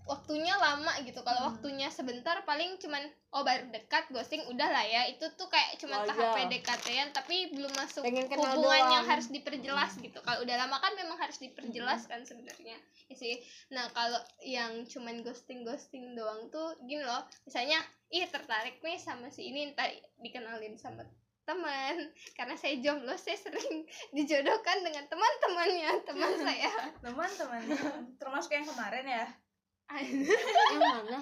Speaker 2: waktunya lama gitu kalau waktunya sebentar paling cuman oh baru dekat ghosting udah lah ya itu tuh kayak cuman tahap
Speaker 1: Wajar.
Speaker 2: PDKT-an tapi belum masuk
Speaker 1: Pengen kenal
Speaker 2: hubungan
Speaker 1: doang.
Speaker 2: yang harus diperjelas gitu kalau udah lama kan memang harus diperjelas kan sebenarnya Ya sih nah kalau yang cuman ghosting ghosting doang tuh gini loh misalnya ih tertarik nih sama si ini ntar dikenalin sama teman karena saya jomblo saya sering dijodohkan dengan teman-temannya teman saya
Speaker 3: Teman-teman. Termasuk yang kemarin ya.
Speaker 1: Yang mana?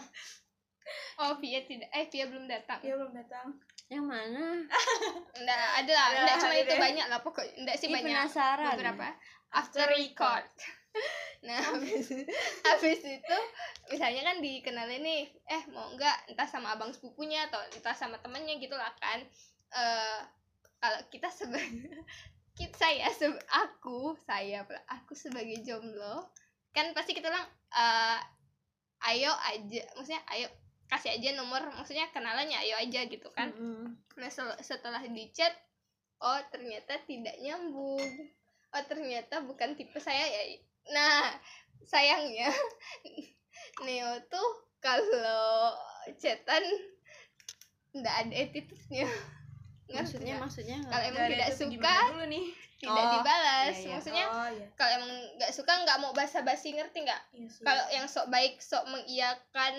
Speaker 2: oh Via tidak eh Via belum datang
Speaker 3: Dia Iya, belum datang.
Speaker 1: Yang mana?
Speaker 2: enggak ada lah
Speaker 3: Ada,
Speaker 2: enggak cuma
Speaker 3: ada
Speaker 2: itu
Speaker 3: deh.
Speaker 2: banyak lah pokoknya enggak sih
Speaker 1: Ih,
Speaker 2: banyak
Speaker 1: penasaran.
Speaker 2: beberapa after record nah habis habis itu misalnya kan dikenalin nih eh mau enggak entah sama abang sepupunya atau entah sama temannya gitu lah kan eh kalau kita sebagai kita saya se- aku saya pula, aku sebagai jomblo kan pasti kita bilang eh, ayo aja maksudnya ayo kasih aja nomor maksudnya kenalannya ayo aja gitu kan
Speaker 1: Mm-mm.
Speaker 2: Nah, sel- setelah dicat, oh ternyata tidak nyambung. Oh ternyata bukan tipe saya ya. Nah, sayangnya Neo tuh kalau chatan nggak ada attitude-nya. Ngerti
Speaker 1: Maksudnya
Speaker 2: nggak?
Speaker 1: maksudnya nggak-
Speaker 2: kalau emang
Speaker 3: Dari
Speaker 2: tidak
Speaker 3: itu tuh
Speaker 2: suka
Speaker 3: gimana dulu nih?
Speaker 2: tidak
Speaker 1: Oh,
Speaker 2: dibalas.
Speaker 1: iya, iya.
Speaker 2: Maksudnya
Speaker 3: Oh iya.
Speaker 2: kalau emang nggak suka nggak mau basa-basi ngerti nggak?
Speaker 3: Iya sih.
Speaker 2: Kalau yang sok baik sok mengiyakan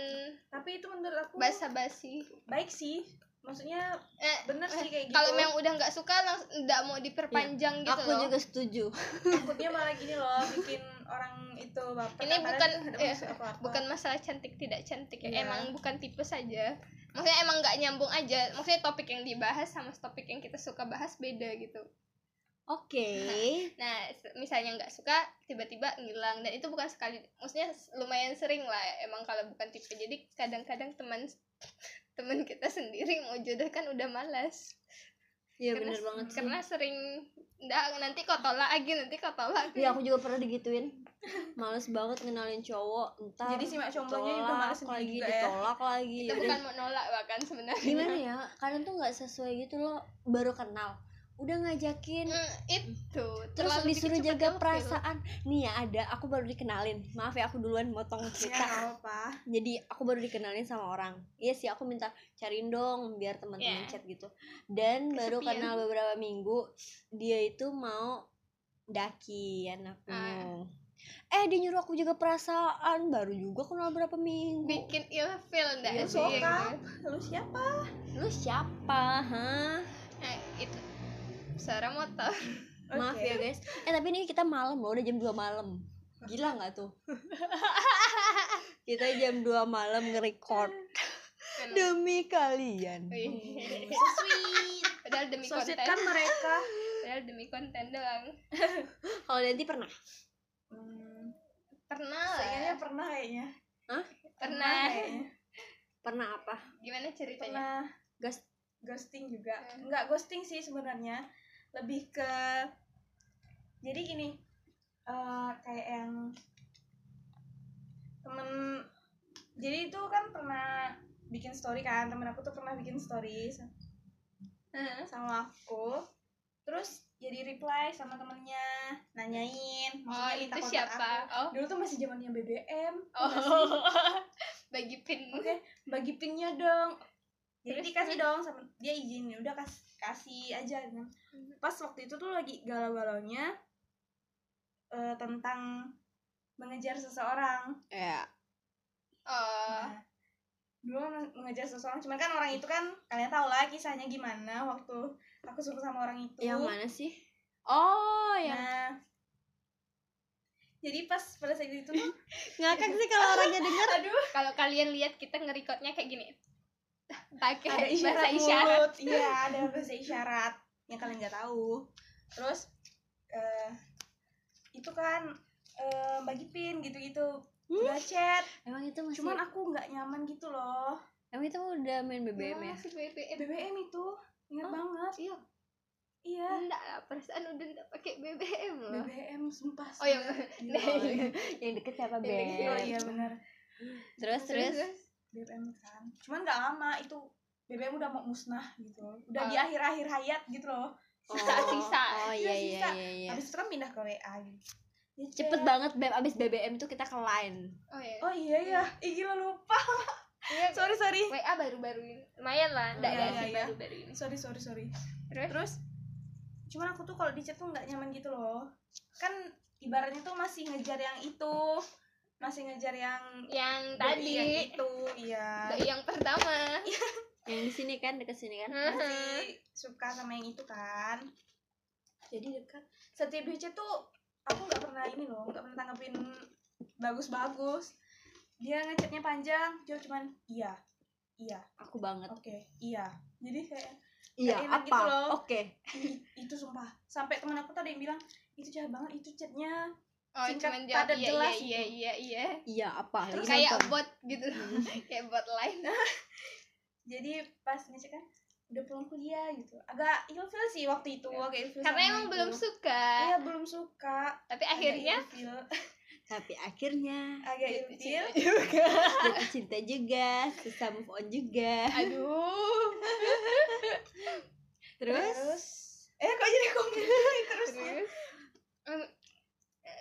Speaker 3: Tapi itu menurut aku
Speaker 2: basa-basi.
Speaker 3: baik sih. Maksudnya
Speaker 2: Eh,
Speaker 3: bener sih kayak gitu.
Speaker 2: kalau memang udah nggak suka langsung nggak mau diperpanjang gitu
Speaker 1: aku
Speaker 2: loh
Speaker 1: juga setuju.
Speaker 3: takutnya malah gini loh bikin orang itu baper
Speaker 2: Ini
Speaker 3: Padahal
Speaker 2: bukan-
Speaker 3: itu ada
Speaker 2: iya,
Speaker 3: maksud apa-apa.
Speaker 2: bukan masalah cantik tidak cantik ya
Speaker 3: Iya.
Speaker 2: emang bukan tipe saja maksudnya emang nggak nyambung aja maksudnya topik yang dibahas sama topik yang kita suka bahas beda gitu
Speaker 1: Oke.
Speaker 2: nah s- misalnya nggak suka tiba-tiba ngilang dan itu bukan sekali maksudnya s- lumayan sering lah emang kalau bukan tipe jadi kadang-kadang teman teman kita sendiri mau jodoh kan udah malas
Speaker 1: Iya
Speaker 2: Karena-
Speaker 1: bener banget sih.
Speaker 2: karena sering nggak nanti kok tolak lagi nanti kok tolak lagi
Speaker 1: Iya aku juga pernah digituin. Males banget ngenalin cowok. Entar
Speaker 3: Jadi si mak comblonya juga
Speaker 1: ditolak
Speaker 3: males sendiri
Speaker 1: lagi
Speaker 3: juga ya.
Speaker 1: ditolak lagi.
Speaker 2: itu
Speaker 1: Udah-
Speaker 2: bukan mau nolak bahkan sebenarnya
Speaker 1: Gimana ya? Kadang tuh nggak sesuai gitu loh. Baru kenal, udah ngajakin.
Speaker 3: Hmm,
Speaker 2: Mm, itu
Speaker 1: Terus
Speaker 2: Terlalu
Speaker 1: disuruh
Speaker 2: dikit-cepet
Speaker 1: jaga
Speaker 2: gokil.
Speaker 1: perasaan. Nih ya ada, aku baru dikenalin. Maaf ya aku duluan motong
Speaker 3: Iya,
Speaker 1: cerita.
Speaker 3: nggak apa-apa.
Speaker 1: jadi aku baru dikenalin sama orang iya sih aku minta cariin dong biar teman-teman
Speaker 2: Iya.
Speaker 1: chat gitu dan baru
Speaker 2: Kesepian.
Speaker 1: kenal beberapa minggu dia itu mau daki anakku
Speaker 2: Ah.
Speaker 1: eh dia nyuruh aku jaga perasaan baru juga kenal berapa minggu
Speaker 2: bikin ilfil ndak
Speaker 1: Iya,
Speaker 2: sih
Speaker 1: sokak.
Speaker 2: gitu.
Speaker 3: Lu siapa?
Speaker 1: lu siapa hah
Speaker 2: Nah, itu suara motor
Speaker 1: maaf
Speaker 3: Oke.
Speaker 1: ya guys eh tapi ini kita malam loh udah jam 2 malam gila nggak tuh kita jam 2 malam nge-record demi kalian
Speaker 2: Wih.
Speaker 3: So sweet.
Speaker 2: padahal demi
Speaker 3: So sweet
Speaker 2: konten
Speaker 3: kan mereka.
Speaker 2: padahal demi konten doang
Speaker 1: kalau nanti pernah
Speaker 3: Hmm,
Speaker 2: pernah lah ya.
Speaker 3: Kayaknya pernah kayaknya.
Speaker 2: pernah
Speaker 3: kayaknya.
Speaker 1: pernah apa
Speaker 2: gimana ceritanya
Speaker 3: Pernah
Speaker 1: Gas-
Speaker 3: ghosting juga.
Speaker 2: Hmm.
Speaker 3: Enggak ghosting sih sebenarnya. Lebih ke jadi gini. eh, kayak yang temen jadi itu kan pernah bikin story kan temen aku tuh pernah bikin story
Speaker 2: Heeh.
Speaker 3: sama aku terus jadi reply sama temennya nanyain
Speaker 2: oh
Speaker 3: maksudnya minta
Speaker 2: itu
Speaker 3: kontak
Speaker 2: siapa
Speaker 3: aku.
Speaker 2: oh
Speaker 3: dulu tuh masih zamannya BBM
Speaker 2: oh
Speaker 3: tuh masih.
Speaker 2: bagi pin
Speaker 3: oke bagi pinknya dong jadi
Speaker 2: Terus,
Speaker 3: dikasih
Speaker 2: terus?
Speaker 3: dong sama dia izin ya udah kas gitu. kasih aja kan pas waktu itu tuh lagi galau galaunya eh, tentang mengejar seseorang.
Speaker 1: ya
Speaker 2: Oh,
Speaker 3: Nah, dulu men- mengejar seseorang, cuman kan orang itu kan kalian tau lah kisahnya gimana waktu aku suka sama orang itu.
Speaker 1: yang mana sih oh yang
Speaker 3: Nah, jadi pas pada saat itu tuh,
Speaker 1: ngakak sih kalau orangnya denger
Speaker 3: aduh,
Speaker 2: kalau kalian lihat kita ngerekodnya kayak gini.
Speaker 3: ada
Speaker 2: Pakai
Speaker 3: isyarat,
Speaker 2: bahasa isyarat.
Speaker 3: mulut. Iya, ada bahasa isyarat yang kalian nggak tahu. Terus eh, itu kan eh, Mbak Gipin gitu-gitu
Speaker 2: Hmm?
Speaker 3: udah chat,
Speaker 1: emang itu masih
Speaker 3: cuman aku nggak nyaman gitu loh.
Speaker 1: emang itu udah main BBM ya
Speaker 2: Masih BBM.
Speaker 3: BBM itu
Speaker 2: Oh,
Speaker 3: ingat banget.
Speaker 2: Iya,
Speaker 3: Iya,
Speaker 2: enggak lah, perasaan udah enggak pakai BBM loh.
Speaker 3: BBM sumpah.
Speaker 2: Hmm. Oh iya,
Speaker 3: sumpah.
Speaker 2: Nah,
Speaker 3: Gila,
Speaker 2: iya.
Speaker 1: yang deket siapa
Speaker 2: Yang deket
Speaker 1: BBM
Speaker 3: Oh iya benar.
Speaker 1: terus terus
Speaker 3: BBM kan. Cuman nggak lama itu BBM udah mau musnah gitu. Udah di
Speaker 2: Oh.
Speaker 3: akhir-akhir hayat gitu loh.
Speaker 2: Sisa-sisa.
Speaker 1: oh iya iya
Speaker 3: Sisa-sisa.
Speaker 1: iya, iya.
Speaker 3: Habis itu kan pindah ke WA gitu. Dia chat.
Speaker 1: cepet banget beb abis BBM tuh kita ke line
Speaker 2: Oh iya.
Speaker 3: Oh iya ya. Ih gila lupa.
Speaker 2: Iya,
Speaker 3: Sorry sorry.
Speaker 2: WA baru-baru ini. Lumayan lah, enggak
Speaker 1: Iya,
Speaker 2: ada
Speaker 1: iya,
Speaker 2: sih
Speaker 3: iya.
Speaker 2: baru-baru ini.
Speaker 3: Sorry sorry sorry.
Speaker 2: Terus
Speaker 3: Terus cuman aku tuh kalau di chat tuh nggak nyaman gitu loh. Kan ibaratnya tuh masih ngejar yang itu. Masih ngejar yang
Speaker 2: yang
Speaker 3: yang
Speaker 2: tadi
Speaker 3: itu, iya.
Speaker 2: dari yang pertama.
Speaker 1: yang di sini kan deket sini kan
Speaker 3: masih suka sama yang itu kan jadi dekat setiap di chat tuh aku nggak pernah ini loh nggak pernah tanggepin bagus-bagus dia ngechatnya panjang dia cuman iya iya
Speaker 1: aku banget
Speaker 3: oke iya jadi kayak
Speaker 1: iya
Speaker 3: enak
Speaker 1: apa
Speaker 3: gitu loh.
Speaker 1: oke
Speaker 3: "Ih, itu sumpah sampai teman aku tadi yang bilang itu jahat banget itu chatnya
Speaker 2: Oh,
Speaker 3: Singkat,
Speaker 2: cuman jawab
Speaker 3: padat,
Speaker 2: iya, iya,
Speaker 3: jelas
Speaker 2: iya, iya, iya.
Speaker 1: iya apa
Speaker 3: Terus
Speaker 1: Lagi
Speaker 2: Kayak
Speaker 1: nonton.
Speaker 2: bot gitu loh. Kayak bot lain.
Speaker 3: jadi pas ngechat kan udah pulang kuliah gitu agak ilfil sih waktu itu
Speaker 2: Ya.
Speaker 3: agak ilfil
Speaker 2: Karena
Speaker 3: sama
Speaker 2: emang
Speaker 3: itu.
Speaker 2: belum suka.
Speaker 3: iya belum suka
Speaker 2: Tapi
Speaker 3: Agak
Speaker 2: akhirnya Gitu,
Speaker 3: ilfil,
Speaker 1: tapi akhirnya
Speaker 3: agak
Speaker 2: Jatuh
Speaker 3: ilfil
Speaker 2: cinta.
Speaker 1: jatuh cinta juga susah move on juga
Speaker 2: aduh.
Speaker 1: terus
Speaker 3: eh kok jadi komplain terus ya?
Speaker 2: Terus em,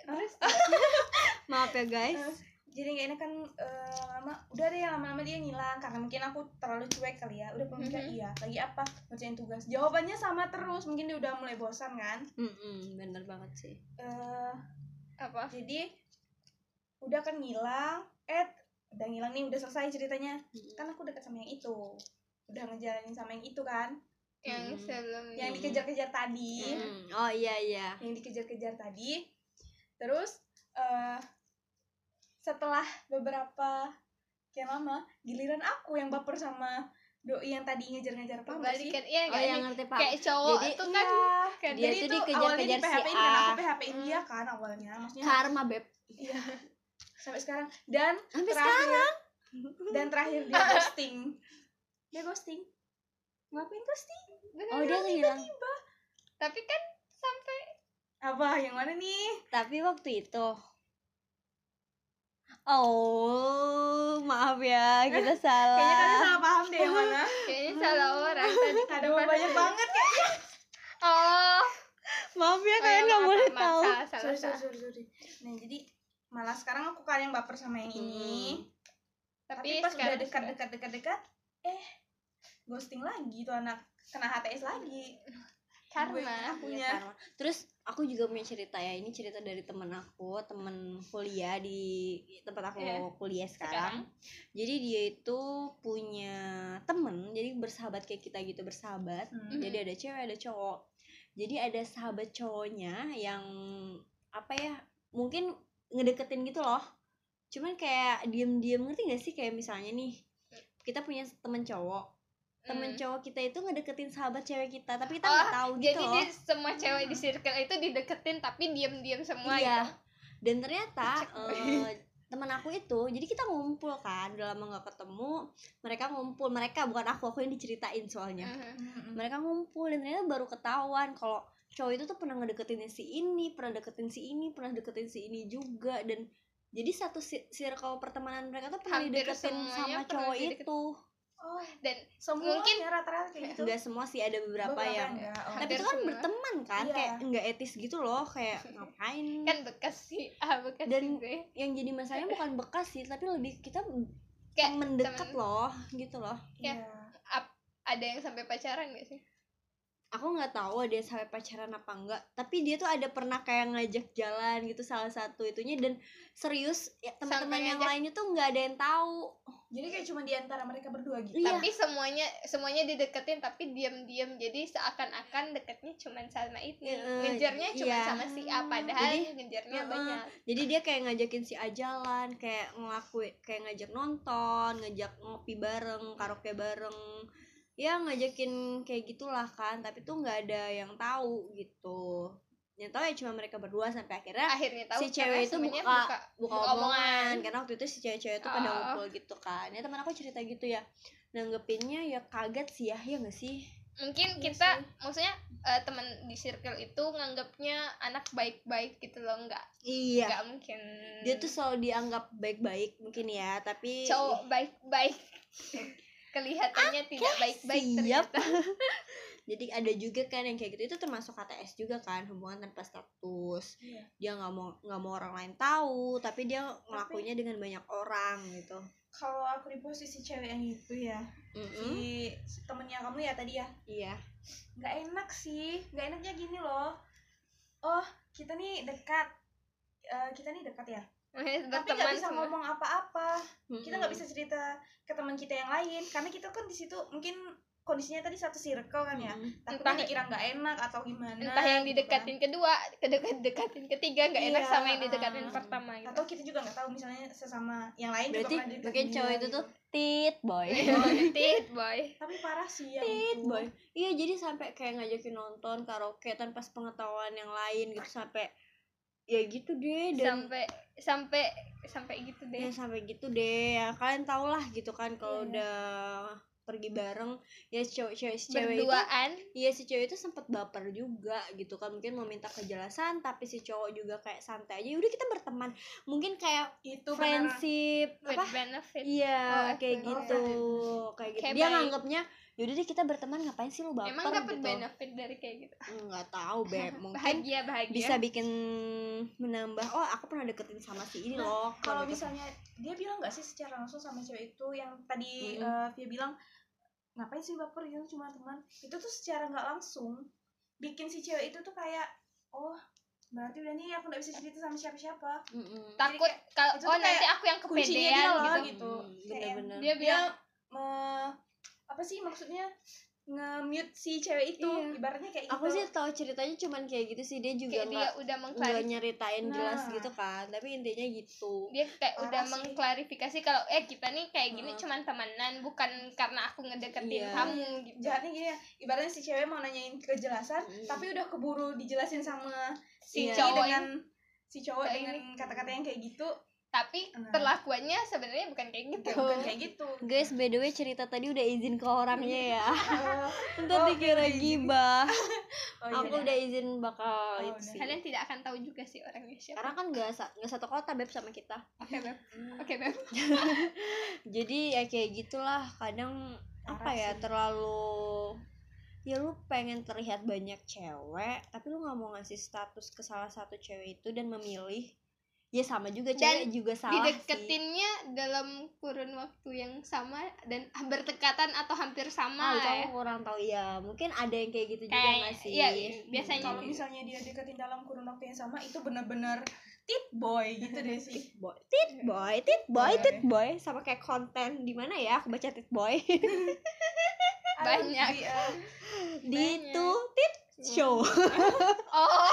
Speaker 3: terus
Speaker 1: maaf ya guys
Speaker 3: Eh, jadi nggak enak kan eh, lama udah deh lama-lama dia ngilang karena mungkin aku terlalu cuek kali ya udah pemikiran
Speaker 2: Mhm.
Speaker 3: iya lagi apa ngerjain tugas jawabannya sama terus mungkin dia udah mulai bosan kan
Speaker 1: Mm-mm, bener banget sih
Speaker 3: Eh,
Speaker 2: apa?
Speaker 3: jadi udah kan ngilang eh udah ngilang nih udah selesai ceritanya
Speaker 1: Iya.
Speaker 3: kan aku dekat sama yang itu udah ngejalanin sama yang itu kan
Speaker 2: Yang
Speaker 1: Hmm.
Speaker 2: sebelumnya.
Speaker 3: yang
Speaker 1: Mhm.
Speaker 3: dikejar-kejar tadi
Speaker 1: Mm, oh iya iya
Speaker 3: yang dikejar-kejar tadi terus eh setelah beberapa yang lama giliran aku yang baper sama doi yang tadi ngejar-ngejar apa enggak sih?
Speaker 2: Balikan iya
Speaker 1: oh
Speaker 2: enggak
Speaker 1: yang
Speaker 2: sih?
Speaker 1: ngerti pak
Speaker 2: Kayak cowok
Speaker 1: Jadi,
Speaker 3: iya.
Speaker 2: tuh
Speaker 3: Oh,
Speaker 2: kan kadang-
Speaker 1: dia
Speaker 3: Jadi
Speaker 1: tuh
Speaker 3: itu awalnya
Speaker 1: dikejar-kejar
Speaker 3: di PHP
Speaker 1: si
Speaker 3: kan aku
Speaker 1: A
Speaker 3: PHP in
Speaker 2: Hmm.
Speaker 3: dia kan awalnya maksudnya
Speaker 1: karma beb
Speaker 3: iya. sampai sekarang dan
Speaker 1: sampai sekarang
Speaker 3: terakhir ya. dan terakhir dia ghosting dia ghosting ngapain ghosting
Speaker 2: beneran.
Speaker 1: oh dia ngilang
Speaker 2: Tapi kan sampai
Speaker 3: apa yang mana nih
Speaker 1: tapi waktu itu oh maaf ya kita
Speaker 3: kayaknya kalian
Speaker 1: salah
Speaker 3: salah paham deh yang mana
Speaker 2: kayaknya salah orang tadi
Speaker 3: ada Hmm. banyak banget ya
Speaker 2: Oh,
Speaker 1: maaf ya
Speaker 2: oh,
Speaker 1: kalian
Speaker 2: ya,
Speaker 1: nggak
Speaker 2: maaf,
Speaker 1: boleh
Speaker 2: maaf,
Speaker 1: tahu
Speaker 2: Salah, salah,
Speaker 3: sorry sorry
Speaker 2: salah.
Speaker 3: sorry sorry nah jadi malah sekarang aku kan yang baper sama yang ini
Speaker 1: Hmm.
Speaker 2: Tapi,
Speaker 3: tapi pas udah
Speaker 2: sekarang
Speaker 3: dekat
Speaker 2: sudah-
Speaker 3: dekat dekat dekat eh ghosting lagi tuh anak kena HTS lagi
Speaker 2: karma.
Speaker 3: akunya
Speaker 1: Iya, Carla. Terus aku juga punya cerita ya. Ini cerita dari temen aku, temen kuliah di tempat aku
Speaker 2: Iya.
Speaker 1: kuliah sekarang. Jadi dia itu punya temen, jadi bersahabat kayak kita gitu bersahabat.
Speaker 3: Hmm.
Speaker 1: Jadi ada cewek, ada cowok. Jadi ada sahabat cowoknya yang apa ya? Mungkin ngedeketin gitu loh. Cuman kayak diem-diem ngerti gak sih kayak misalnya nih kita punya temen cowok, temen
Speaker 2: Hmm.
Speaker 1: cowok kita itu ngedeketin sahabat cewek kita, tapi kita
Speaker 2: Oh,
Speaker 1: nggak tahu gitu
Speaker 2: Jadi
Speaker 1: loh.
Speaker 2: dia semua cewek di circle itu dideketin tapi diam-diam semua gitu.
Speaker 1: Iya. dan ternyata
Speaker 2: Cek.
Speaker 1: eh, teman aku itu jadi kita ngumpul kan udah lama nggak ketemu mereka ngumpul mereka bukan aku aku yang diceritain soalnya
Speaker 2: Mhm.
Speaker 3: Mm-mm.
Speaker 1: mereka ngumpul dan ternyata baru ketahuan kalau cowok itu tuh pernah ngedeketin si ini pernah deketin si ini pernah deketin si ini juga dan jadi satu si- circle pertemanan mereka tuh pernah
Speaker 2: Hampir
Speaker 1: dideketin
Speaker 2: semuanya
Speaker 1: sama
Speaker 2: pernah
Speaker 1: cowok
Speaker 2: dideket-
Speaker 1: itu
Speaker 3: oh
Speaker 2: Dan
Speaker 3: semua
Speaker 2: Mungkin-
Speaker 3: ya rata-rata kayak gitu
Speaker 1: enggak semua sih ada beberapa,
Speaker 3: Beberapa
Speaker 1: yang
Speaker 3: enggak, oh.
Speaker 1: tapi
Speaker 2: Hampir
Speaker 1: itu kan
Speaker 2: semua.
Speaker 1: berteman kan
Speaker 3: Iya.
Speaker 1: kayak nggak etis gitu loh kayak ngapain
Speaker 2: kan bekas si A, bekas si
Speaker 1: Dan-
Speaker 2: B.
Speaker 1: yang jadi masalahnya bukan bekas sih tapi lebih kita
Speaker 2: Kayak
Speaker 1: kayak mendekat
Speaker 2: temen-
Speaker 1: loh gitu loh
Speaker 2: ya.
Speaker 3: Iya.
Speaker 2: Ada yang sampai pacaran gak sih?
Speaker 1: aku nggak tahu dia sampai pacaran apa enggak tapi dia tuh ada pernah kayak ngajak jalan gitu salah satu itunya dan serius ya, teman-teman
Speaker 2: Sampai
Speaker 1: yang
Speaker 2: ngajak-
Speaker 1: lainnya tuh nggak ada yang tahu
Speaker 3: Jadi kayak cuma di antara mereka berdua gitu.
Speaker 1: Iya.
Speaker 2: tapi semuanya semuanya dideketin tapi diam-diam jadi seakan-akan deketnya cuman sama itu
Speaker 1: Iya,
Speaker 2: ngejarnya cuman
Speaker 1: iya.
Speaker 2: sama si A padahal
Speaker 1: Jadi,
Speaker 2: ngejarnya
Speaker 1: heeh.
Speaker 2: banyak
Speaker 1: jadi dia kayak ngajakin si A jalan kayak ngelakuin kayak ngajak nonton ngajak ngopi bareng karaoke bareng ya ngajakin kayak gitulah kan tapi tuh nggak ada yang tahu gitu yang tahu ya cuma mereka berdua sampai akhirnya
Speaker 2: akhirnya tahu
Speaker 1: Kan si
Speaker 2: karena
Speaker 1: cewek itu
Speaker 2: semuanya
Speaker 1: buka-
Speaker 2: buka
Speaker 1: buka
Speaker 2: Buka
Speaker 1: omongan.
Speaker 2: omongan.
Speaker 1: karena waktu itu si cewek-cewek itu pada
Speaker 2: Oh.
Speaker 1: ngumpul gitu kan ya teman aku cerita gitu ya nanggepinnya ya kaget sih ya ya nggak sih
Speaker 2: mungkin
Speaker 1: Iya
Speaker 2: kita
Speaker 1: sih.
Speaker 2: maksudnya eh, teman di circle itu nganggapnya anak baik-baik gitu loh nggak
Speaker 1: iya
Speaker 2: nggak mungkin
Speaker 1: dia tuh selalu dianggap baik-baik mungkin ya tapi
Speaker 2: cowok baik-baik kelihatannya tidak baik-baik
Speaker 1: siap.
Speaker 2: ternyata
Speaker 1: jadi ada juga kan yang kayak gitu itu termasuk KTS juga kan hubungan tanpa status
Speaker 3: Iya.
Speaker 1: dia nggak mau nggak mau orang lain tahu tapi dia ngelakuinnya dengan banyak orang gitu
Speaker 3: Kalau aku di posisi cewek yang itu ya,
Speaker 1: Mm-mm.
Speaker 3: si temennya kamu ya tadi ya,
Speaker 1: iya
Speaker 3: nggak enak sih. Nggak enaknya gini loh. Oh, kita nih dekat. Eh, kita nih dekat ya. Tapi nggak
Speaker 2: berteman
Speaker 3: bisa
Speaker 2: semua
Speaker 3: ngomong apa-apa. Kita nggak
Speaker 1: Mm-mm.
Speaker 3: bisa cerita ke teman kita yang lain karena kita kan di situ mungkin kondisinya tadi satu circle kan ya.
Speaker 1: Mm-mm.
Speaker 3: Takutnya
Speaker 2: Entah-
Speaker 3: dikira nggak enak atau gimana.
Speaker 2: entah yang
Speaker 3: gitu kan.
Speaker 2: didekatin kedua kedekat dekatin ketiga nggak enak
Speaker 3: Iya,
Speaker 2: sama yang didekatin
Speaker 3: ah.
Speaker 2: pertama gitu
Speaker 3: atau kita juga nggak tahu misalnya sesama yang lain juga
Speaker 1: berarti
Speaker 3: pernah deket
Speaker 1: mungkin
Speaker 3: dia
Speaker 1: cowok itu
Speaker 3: gitu.
Speaker 1: tuh tit boy
Speaker 2: tit boy
Speaker 3: tapi parah sih yang
Speaker 1: Tit,
Speaker 3: itu.
Speaker 1: boy. Iya jadi sampai kayak ngajakin nonton karaoke tanpa sepengetahuan yang lain gitu sampai ya gitu deh dan
Speaker 2: sampai sampai sampai gitu
Speaker 1: ya
Speaker 2: deh
Speaker 1: sampai gitu deh ya kalian tau lah gitu kan
Speaker 3: Iya.
Speaker 1: kalau udah pergi bareng ya si cewek cewek si cewek itu
Speaker 2: berduaan
Speaker 1: Iya si cewek itu sempat baper juga gitu kan mungkin meminta kejelasan tapi si cowok juga kayak santai aja udah kita berteman mungkin kayak
Speaker 3: itu benar
Speaker 1: friendship
Speaker 2: with
Speaker 1: apa
Speaker 2: benefit
Speaker 1: iya
Speaker 2: Oh,
Speaker 1: kayak
Speaker 2: FWB.
Speaker 1: gitu kayak gitu
Speaker 2: Kayak
Speaker 1: dia
Speaker 2: baik.
Speaker 1: nganggapnya yaudah deh kita berteman ngapain sih lu baper
Speaker 2: emang dapat
Speaker 1: gitu
Speaker 2: benefit dari kayak gitu
Speaker 1: nggak tahu beb mungkin
Speaker 2: bahagia bahagia
Speaker 1: bisa bikin menambah oh aku pernah deketin sama si ini
Speaker 3: Nah,
Speaker 1: loh
Speaker 3: kalau
Speaker 1: gitu.
Speaker 3: misalnya dia bilang nggak sih secara langsung sama cewek itu yang tadi
Speaker 1: Mm-mm.
Speaker 3: eh, dia bilang ngapain sih baper gitu cuma teman itu tuh secara nggak langsung bikin si cewek itu tuh kayak oh berarti udah nih aku nggak bisa cerita sama siapa-siapa
Speaker 1: Mm-mm.
Speaker 2: takut kalau
Speaker 3: itu
Speaker 2: oh
Speaker 3: tuh kayak
Speaker 2: nanti aku yang
Speaker 3: kuncinya dia
Speaker 2: kepedean
Speaker 3: loh
Speaker 2: gitu
Speaker 3: gitu, Iya.
Speaker 1: Hmm,
Speaker 3: Kayak
Speaker 1: bener-bener.
Speaker 2: dia bilang
Speaker 3: me- apa sih maksudnya nge-mute si cewek itu
Speaker 1: Iya.
Speaker 3: ibaratnya kayak gitu
Speaker 1: aku sih tahu ceritanya cuman kayak gitu sih dia juga
Speaker 2: kayak dia
Speaker 1: nggak
Speaker 2: udah
Speaker 1: nggak
Speaker 2: mengklarifikasi
Speaker 1: nyeritain jelas
Speaker 3: Nah.
Speaker 1: gitu kan tapi intinya gitu
Speaker 2: dia kayak
Speaker 3: Parah
Speaker 2: udah
Speaker 3: sih.
Speaker 2: mengklarifikasi kalau eh kita nih kayak gini
Speaker 1: Heeh.
Speaker 2: cuman temenan bukan karena aku ngedeketin
Speaker 1: Iya.
Speaker 2: kamu gitu
Speaker 3: jahatnya gini ya ibaratnya si cewek mau nanyain kejelasan
Speaker 1: Mm.
Speaker 3: tapi udah keburu dijelasin sama si
Speaker 1: Iya.
Speaker 3: ini
Speaker 2: Cowok
Speaker 3: dengan si cowok
Speaker 2: Kayak
Speaker 3: dengan kata-kata yang kayak gitu
Speaker 2: tapi
Speaker 3: Nah.
Speaker 2: perlakuannya sebenarnya bukan kayak gitu
Speaker 3: ya bukan kayak gitu
Speaker 1: guys by the way cerita tadi udah izin ke orangnya ya
Speaker 3: oh, Oh,
Speaker 1: ntar dikira
Speaker 3: udah izin.
Speaker 1: gibah
Speaker 3: oh iya,
Speaker 1: aku
Speaker 3: udah.
Speaker 1: udah izin bakal
Speaker 3: Oh,
Speaker 1: itu
Speaker 3: udah.
Speaker 1: sih
Speaker 2: kalian tidak akan tahu juga sih orangnya siapa
Speaker 1: karena kan nggak sa- nggak satu kota beb sama kita
Speaker 2: oke beb oke beb
Speaker 1: jadi ya kayak gitulah kadang apa
Speaker 3: Parah
Speaker 1: ya
Speaker 3: sih.
Speaker 1: terlalu ya lu pengen terlihat banyak cewek tapi lu nggak mau ngasih status ke salah satu cewek itu dan memilih ya sama juga
Speaker 2: Dan
Speaker 1: cewek juga salah sih
Speaker 2: dideketinnya dalam kurun waktu yang sama dan bertekatan atau hampir
Speaker 1: ah
Speaker 2: sama ya
Speaker 1: itu aku kurang tahu ya mungkin ada yang kayak gitu juga
Speaker 2: Kayak-
Speaker 1: nggak sih
Speaker 2: iya, iya, biasanya.
Speaker 3: kalau misalnya dia deketin dalam kurun waktu yang sama itu benar-benar tit boy gitu deh sih
Speaker 1: tit boy tit boy tit boy
Speaker 3: Iya.
Speaker 1: tit boy sama kayak konten di mana ya aku baca tit boy
Speaker 2: Iya,
Speaker 3: Ada
Speaker 2: Banyak.
Speaker 3: di, eh,
Speaker 1: di
Speaker 2: Banyak. Iya.
Speaker 1: tuh tit show
Speaker 2: oh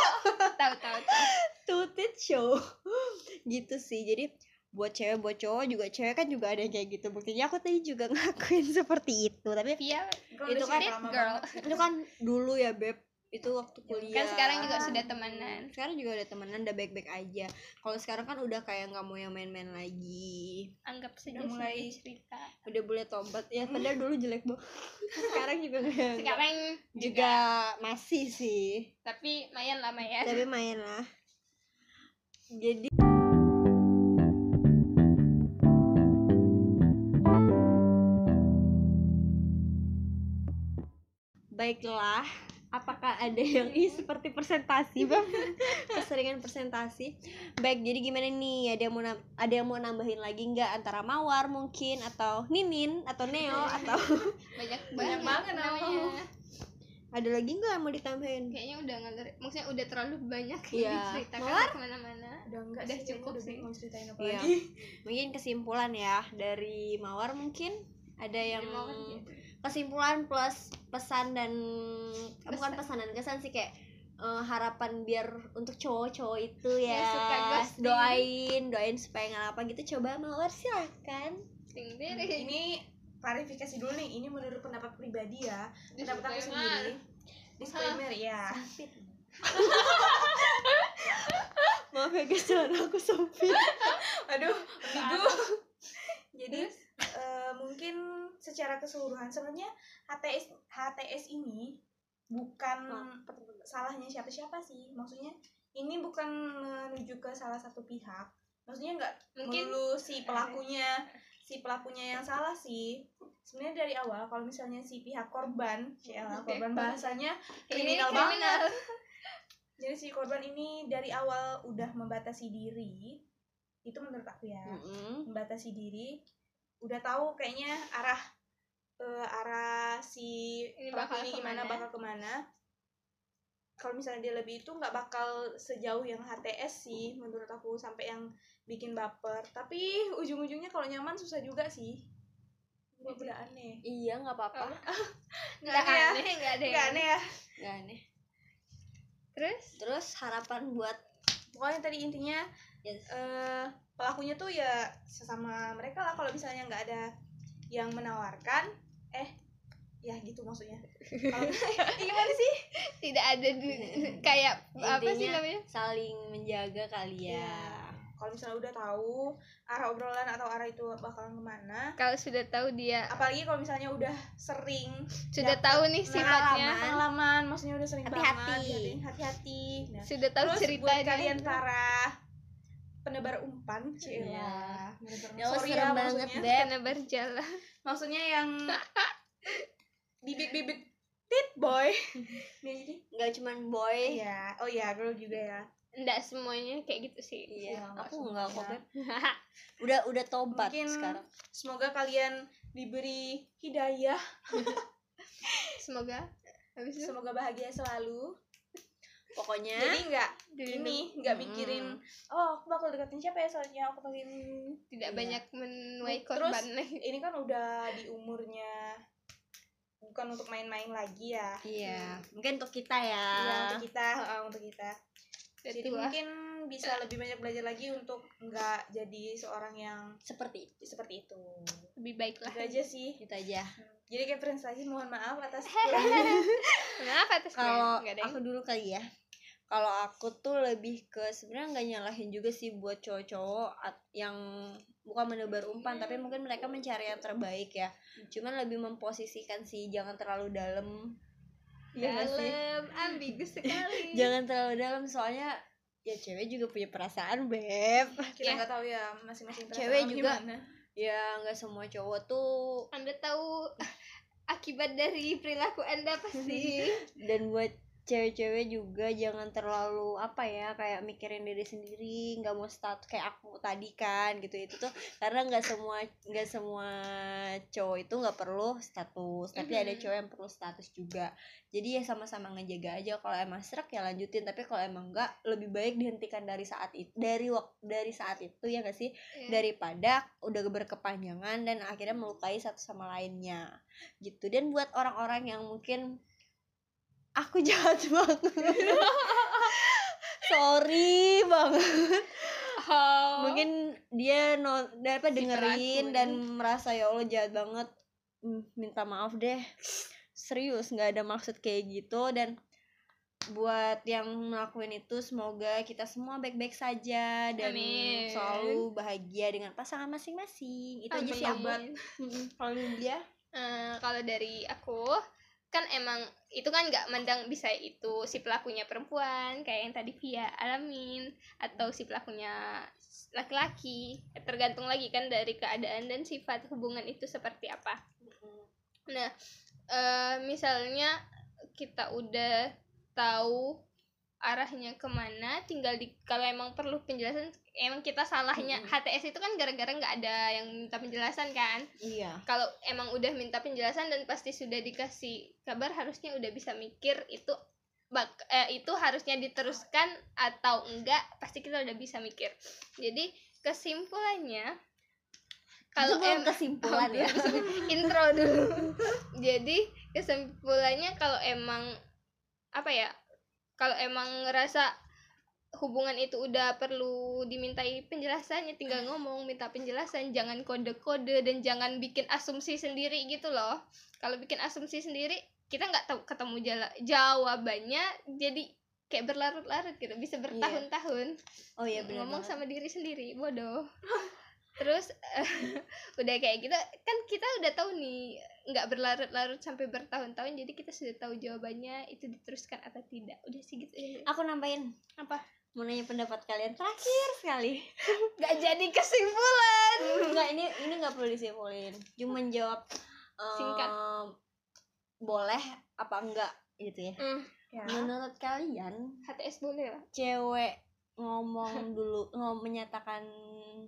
Speaker 2: tahu tahu tahu.
Speaker 1: tutit show gitu sih jadi buat cewek buat cowok juga cewek kan juga ada yang kayak gitu buktinya aku tadi juga ngakuin seperti itu tapi
Speaker 2: via
Speaker 3: kurun
Speaker 1: Itu
Speaker 3: udah
Speaker 1: kan
Speaker 3: cerita
Speaker 2: tit
Speaker 3: lama
Speaker 2: girl.
Speaker 3: banget.
Speaker 1: itu kan dulu ya beb itu waktu
Speaker 2: kan
Speaker 1: kuliah
Speaker 2: sekarang juga
Speaker 3: Ah.
Speaker 2: sudah temenan
Speaker 1: sekarang juga udah temenan udah baik baik aja kalau sekarang kan udah kayak nggak mau yang main main lagi
Speaker 2: anggap saja
Speaker 3: Udah mulai-
Speaker 2: mulai cerita
Speaker 1: udah boleh tobat ya padahal dulu jelek banget sekarang juga nggak-
Speaker 2: sekarang
Speaker 1: juga
Speaker 2: juga,
Speaker 1: masih sih
Speaker 2: tapi mayan lama ya
Speaker 1: tapi main lah jadi baiklah apakah ada yang ih seperti presentasi bang keseringan presentasi baik jadi gimana nih ada yang mau nam- ada yang mau nambahin lagi nggak antara mawar mungkin atau ninin atau neo atau
Speaker 2: banyak
Speaker 3: Banyak
Speaker 2: banget
Speaker 3: banget
Speaker 2: namanya
Speaker 3: namanya.
Speaker 1: ada lagi nggak yang mau ditambahin
Speaker 2: kayaknya udah ngalir maksudnya udah terlalu banyak
Speaker 1: Iya.
Speaker 2: yang diceritakan
Speaker 1: Mawar?
Speaker 2: kemana-mana
Speaker 3: udah enggak
Speaker 2: Udah
Speaker 3: sih, kayaknya
Speaker 2: cukup
Speaker 3: udah
Speaker 2: sih.
Speaker 3: mau ceritain apa
Speaker 1: Iya.
Speaker 3: lagi
Speaker 1: mungkin kesimpulan ya dari mawar mungkin ada yang
Speaker 2: Jadi Mawar
Speaker 1: ya.
Speaker 2: gitu.
Speaker 1: kesimpulan plus pesan dan eh,
Speaker 2: Pesan.
Speaker 1: bukan pesan dan kesan sih kayak eh, harapan biar untuk cowok-cowok itu ya,
Speaker 2: Yang suka ghosting.
Speaker 1: doain doain supaya ngalapan gitu coba mawar silakan
Speaker 2: Ting
Speaker 3: Hmm,
Speaker 2: diri.
Speaker 3: ini klarifikasi dulu nih ini menurut pendapat pribadi ya pendapat aku
Speaker 2: Disclaimer.
Speaker 3: sendiri disclaimer ya
Speaker 1: maaf ya guys jalan aku sempit
Speaker 3: aduh bigu jadi eh, mungkin secara keseluruhan sebenarnya HTS HTS ini bukan salahnya siapa-siapa sih maksudnya ini bukan menuju ke salah satu pihak maksudnya nggak
Speaker 2: Mungkin-
Speaker 3: melulu si pelakunya si pelakunya yang salah sih sebenarnya dari awal kalau misalnya si pihak korban si
Speaker 2: Pihak
Speaker 3: korban
Speaker 2: korban.
Speaker 3: bahasanya
Speaker 2: ini
Speaker 3: kriminal
Speaker 2: kriminal.
Speaker 3: banget jadi si korban ini dari awal udah membatasi diri itu menurut aku ya
Speaker 1: Hmm.
Speaker 3: membatasi diri udah tahu kayaknya arah eh, arah si
Speaker 2: Ini
Speaker 3: pelaku
Speaker 2: bakal
Speaker 3: ini gimana
Speaker 2: kemana. ya?
Speaker 3: bakal kemana kalau misalnya dia lebih itu nggak bakal sejauh yang HTS sih menurut aku sampai yang bikin baper tapi ujung-ujungnya kalau nyaman susah juga sih Gua udah aneh
Speaker 1: iya nggak apa-apa
Speaker 2: nggak
Speaker 3: Nggak
Speaker 2: aneh nggak ada
Speaker 3: nggak
Speaker 2: yang-
Speaker 3: aneh ya
Speaker 1: nggak aneh
Speaker 2: terus
Speaker 1: terus harapan buat
Speaker 3: pokoknya tadi intinya
Speaker 1: Yes.
Speaker 3: eh, pelakunya tuh ya sesama mereka lah kalau misalnya nggak ada yang menawarkan eh ya gitu maksudnya Kalau- Eh, gimana sih
Speaker 2: tidak ada du- kayak apa sih
Speaker 1: Intinya-
Speaker 2: namanya
Speaker 1: saling menjaga kali ya
Speaker 3: Iya. kalau misalnya udah tahu arah obrolan atau arah itu bakalan kemana
Speaker 2: kalau sudah tahu dia
Speaker 3: apalagi kalau misalnya udah sering
Speaker 2: sudah
Speaker 3: dapat
Speaker 2: tahu nih sifatnya
Speaker 3: pengalaman maksudnya udah sering
Speaker 1: Hati-hati.
Speaker 3: banget jadi hati-hati Nah,
Speaker 2: sudah tahu Oh,
Speaker 3: terus buat
Speaker 2: ceritanya
Speaker 3: kalian para penebar umpan cila
Speaker 1: Iya. Ya,
Speaker 3: sorry ya
Speaker 1: serem banget,
Speaker 3: maksudnya
Speaker 1: Beb.
Speaker 2: karena berjalan
Speaker 3: maksudnya yang bibit-bibit tit boy ya jadi
Speaker 1: nggak cuman boy
Speaker 3: iya oh iya girl juga ya
Speaker 2: enggak semuanya kayak gitu sih
Speaker 1: iya
Speaker 3: nggak
Speaker 1: aku nggak kok
Speaker 3: semuanya.
Speaker 1: Beb. udah udah tobat
Speaker 3: Mungkin
Speaker 1: sekarang
Speaker 3: semoga kalian diberi hidayah
Speaker 2: semoga habis itu
Speaker 3: semoga bahagia selalu
Speaker 1: pokoknya
Speaker 3: jadi nggak
Speaker 2: dilindungi.
Speaker 3: ini nggak mikirin oh aku bakal deketin siapa ya soalnya aku pengen
Speaker 2: tidak
Speaker 1: Iya.
Speaker 2: banyak menuai
Speaker 3: Terus-
Speaker 2: korban
Speaker 3: ini kan udah di umurnya bukan untuk main-main lagi ya
Speaker 1: Iya, mungkin untuk kita ya.
Speaker 3: Iya, untuk kita eh, untuk kita
Speaker 2: Udah
Speaker 3: jadi
Speaker 2: tua.
Speaker 3: mungkin bisa lebih banyak belajar lagi untuk nggak jadi seorang yang
Speaker 1: Seperti iya. itu.
Speaker 3: seperti itu
Speaker 2: lebih baik lah
Speaker 3: itu aja sih
Speaker 1: Itu aja.
Speaker 3: jadi kayak friends lagi mohon maaf atas kurangnya
Speaker 2: kenapa atas
Speaker 1: Kalau
Speaker 2: nggak ada yang
Speaker 1: aku dulu kali ya. Kalau aku tuh lebih ke sebenarnya nggak nyalahin juga sih buat cowok-cowok at- yang bukan menebar umpan tapi mungkin mereka mencari yang terbaik ya. Cuman lebih memposisikan sih jangan terlalu dalam. Iya nggak sih?
Speaker 2: dalam ambigu sekali
Speaker 1: Jangan terlalu dalam soalnya ya cewek juga punya perasaan, Beb.
Speaker 3: kita
Speaker 2: Ya.
Speaker 3: nggak tahu ya masing-masing perasaan
Speaker 1: Iya. Cewek
Speaker 3: orang
Speaker 1: juga.
Speaker 3: gimana.
Speaker 1: Ya nggak semua cowok tuh
Speaker 2: anda tahu akibat dari perilaku anda pasti
Speaker 1: dan buat cewek-cewek juga jangan terlalu apa ya kayak mikirin diri sendiri nggak mau status kayak aku tadi kan gitu itu tuh karena nggak semua nggak semua cowok itu nggak perlu status tapi ada
Speaker 2: Mhm.
Speaker 1: cowok yang perlu status juga jadi ya sama-sama ngejaga aja kalau emang serak ya lanjutin tapi kalau emang enggak lebih baik dihentikan dari saat itu dari waktu dari saat itu ya nggak sih
Speaker 2: Iya.
Speaker 1: daripada udah berkepanjangan dan akhirnya melukai satu sama lainnya gitu dan buat orang-orang yang mungkin aku jahat banget sorry banget
Speaker 2: Oh.
Speaker 1: mungkin dia no apa
Speaker 2: Si
Speaker 1: dengerin
Speaker 2: pelaku
Speaker 1: dan merasa ya allah jahat banget Hmm, minta maaf deh serius nggak ada maksud kayak gitu dan buat yang ngelakuin itu semoga kita semua baik-baik saja dan
Speaker 2: Amin.
Speaker 1: selalu bahagia dengan pasangan masing-masing itu aja sih
Speaker 2: Amin.
Speaker 1: aku Mm-mm. kalau dia
Speaker 2: Eh, kalau dari aku kan emang itu kan nggak mandang bisa itu si pelakunya perempuan kayak yang tadi Via alamin atau si pelakunya laki-laki tergantung lagi kan dari keadaan dan sifat hubungan itu seperti apa nah eh, misalnya kita udah tahu arahnya kemana tinggal di kalau emang perlu penjelasan emang kita salahnya HTS itu kan gara-gara nggak ada yang minta penjelasan kan
Speaker 1: iya
Speaker 2: kalau emang udah minta penjelasan dan pasti sudah dikasih kabar harusnya udah bisa mikir itu bak eh, itu harusnya diteruskan atau enggak pasti kita udah bisa mikir jadi kesimpulannya
Speaker 1: kalau
Speaker 2: kalau em-
Speaker 1: kesimpulan ya
Speaker 2: intro dulu jadi kesimpulannya kalau emang apa ya kalau emang ngerasa hubungan itu udah perlu dimintai penjelasannya tinggal ngomong minta penjelasan jangan kode-kode dan jangan bikin asumsi sendiri gitu loh kalau bikin asumsi sendiri kita nggak tahu ketemu jala- jawabannya jadi kayak berlarut-larut gitu bisa
Speaker 1: Iya.
Speaker 2: bertahun-tahun
Speaker 1: oh iya benar
Speaker 2: ngomong sama diri sendiri bodoh terus udah kayak gitu kan kita udah tahu nih nggak berlarut-larut sampai bertahun-tahun jadi kita sudah tahu jawabannya itu diteruskan atau tidak udah sih gitu ya.
Speaker 1: aku nambahin
Speaker 2: Apa?
Speaker 1: mau nanya pendapat kalian terakhir sekali
Speaker 2: nggak jadi kesimpulan
Speaker 1: Enggak ini ini nggak perlu disimpulin. Cuma jawab eh,
Speaker 2: Singkat.
Speaker 1: Boleh apa enggak gitu ya.
Speaker 3: Ya.
Speaker 1: Menurut kalian
Speaker 2: HTS boleh lah
Speaker 1: cewek ngomong dulu ngom menyatakan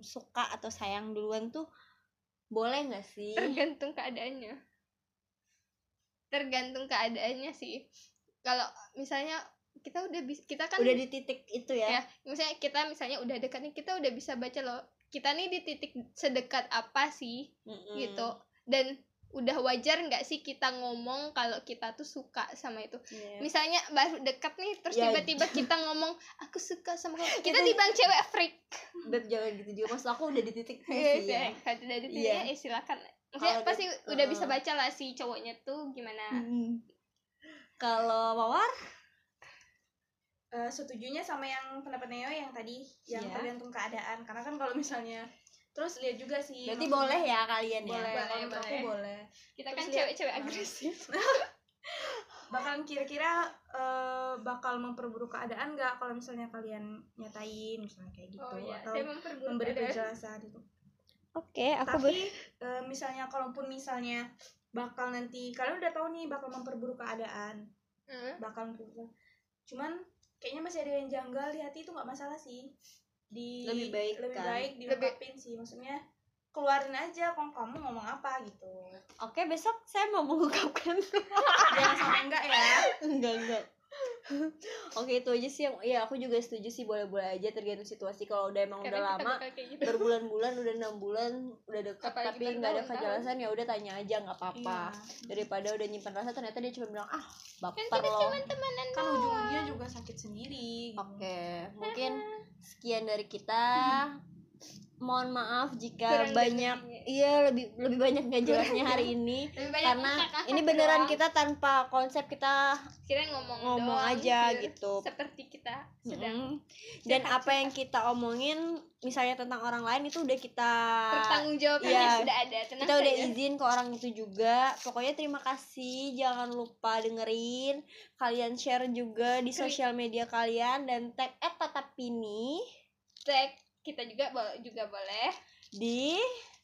Speaker 1: suka atau sayang duluan tuh boleh nggak sih?
Speaker 2: tergantung keadaannya tergantung keadaannya sih kalau misalnya kita udah bis- kita kan
Speaker 1: Udah di titik itu ya.
Speaker 2: ya misalnya kita misalnya udah dekat nih kita udah bisa baca loh kita nih di titik sedekat apa sih
Speaker 1: Mm-mm.
Speaker 2: gitu dan udah wajar nggak sih kita ngomong kalau kita tuh suka sama itu
Speaker 1: Iya.
Speaker 2: misalnya baru deket nih terus
Speaker 1: Ya.
Speaker 2: tiba-tiba kita ngomong aku suka sama kamu kita dibilang cewek freak
Speaker 1: Beb jangan gitu juga. Maksud aku udah di titik
Speaker 2: Iya,
Speaker 1: sih ya.
Speaker 2: kalau tidak ada
Speaker 1: Iya.
Speaker 2: titiknya, eh silakan maksudnya
Speaker 1: Kalau
Speaker 2: pasti udah bisa
Speaker 1: uh-uh.
Speaker 2: baca lah si cowoknya tuh gimana
Speaker 1: Mm. Kalau Mawar
Speaker 3: Eh, setujunya sama yang pendapat Neo yang tadi yang
Speaker 1: Iya.
Speaker 3: tergantung keadaan karena kan kalau misalnya terus lihat juga sih
Speaker 1: berarti
Speaker 3: maksudnya-
Speaker 1: boleh ya kalian ya.
Speaker 3: boleh
Speaker 2: Iya. Boleh,
Speaker 3: kalau menurut aku
Speaker 2: boleh.
Speaker 3: boleh
Speaker 2: kita
Speaker 3: Terus
Speaker 2: kan
Speaker 3: lihat-
Speaker 2: cewek-cewek
Speaker 1: Hmm.
Speaker 3: Nah.
Speaker 2: agresif
Speaker 3: bakalan kira-kira eh, bakal memperburuk keadaan nggak kalau misalnya kalian nyatain misalnya kayak gitu
Speaker 2: Oh,
Speaker 3: atau
Speaker 2: iya. saya memperburuk
Speaker 3: memberi
Speaker 2: keadaan.
Speaker 3: penjelasan gitu
Speaker 5: Oke, aku ber-
Speaker 3: tapi eh, misalnya kalaupun misalnya bakal nanti kalian udah tahu nih bakal memperburuk keadaan
Speaker 2: Hmm.
Speaker 3: bakal memperburuk cuman kayaknya masih ada yang janggal di hati itu nggak masalah sih di
Speaker 1: Lebih baik,
Speaker 3: lebih
Speaker 1: kan?
Speaker 3: baik diungkapin sih maksudnya keluarin aja kalau kamu ngomong apa gitu
Speaker 1: Oke, besok saya mau mengungkapkan
Speaker 3: jangan sampai enggak ya
Speaker 1: enggak enggak oke itu aja sih yang ya aku juga setuju sih boleh-boleh aja tergantung situasi kalau udah emang
Speaker 2: karena kita
Speaker 1: udah lama
Speaker 2: bakal kayak gitu
Speaker 1: berbulan-bulan udah enam bulan udah dekat
Speaker 2: Apalagi
Speaker 1: tapi nggak ada
Speaker 2: bertahun-tahun.
Speaker 1: kejelasan ya udah tanya aja nggak apa-apa
Speaker 3: Iya.
Speaker 1: daripada udah nyimpan rasa ternyata dia cuma bilang ah
Speaker 2: kan
Speaker 1: baper
Speaker 2: kita
Speaker 1: loh
Speaker 2: cuma temenan
Speaker 3: kan
Speaker 2: doang.
Speaker 3: ujungnya juga sakit sendiri gitu.
Speaker 1: oke mungkin sekian dari kita mohon maaf jika
Speaker 2: Kurang
Speaker 1: banyak
Speaker 2: jelasnya.
Speaker 1: iya lebih lebih banyak nggak jelasnya hari ini
Speaker 2: Lebih banyak
Speaker 1: karena
Speaker 2: kakak-kakak
Speaker 1: ini beneran
Speaker 2: doang.
Speaker 1: kita tanpa konsep kita
Speaker 2: kira kan ngomong
Speaker 1: ngomong
Speaker 2: doang,
Speaker 1: aja
Speaker 2: pure.
Speaker 1: gitu.
Speaker 2: seperti kita sedang
Speaker 1: Mm. dan apa yang kita omongin misalnya tentang orang lain itu udah kita
Speaker 2: bertanggung jawabannya
Speaker 1: Ah. iya.
Speaker 2: sudah ada tenang
Speaker 1: kita udah
Speaker 2: saja.
Speaker 1: izin ke orang itu juga pokoknya terima kasih jangan lupa dengerin kalian share juga di
Speaker 2: Klik.
Speaker 1: sosial media kalian dan tag @tatapini
Speaker 2: tag kita juga bo- juga boleh
Speaker 1: di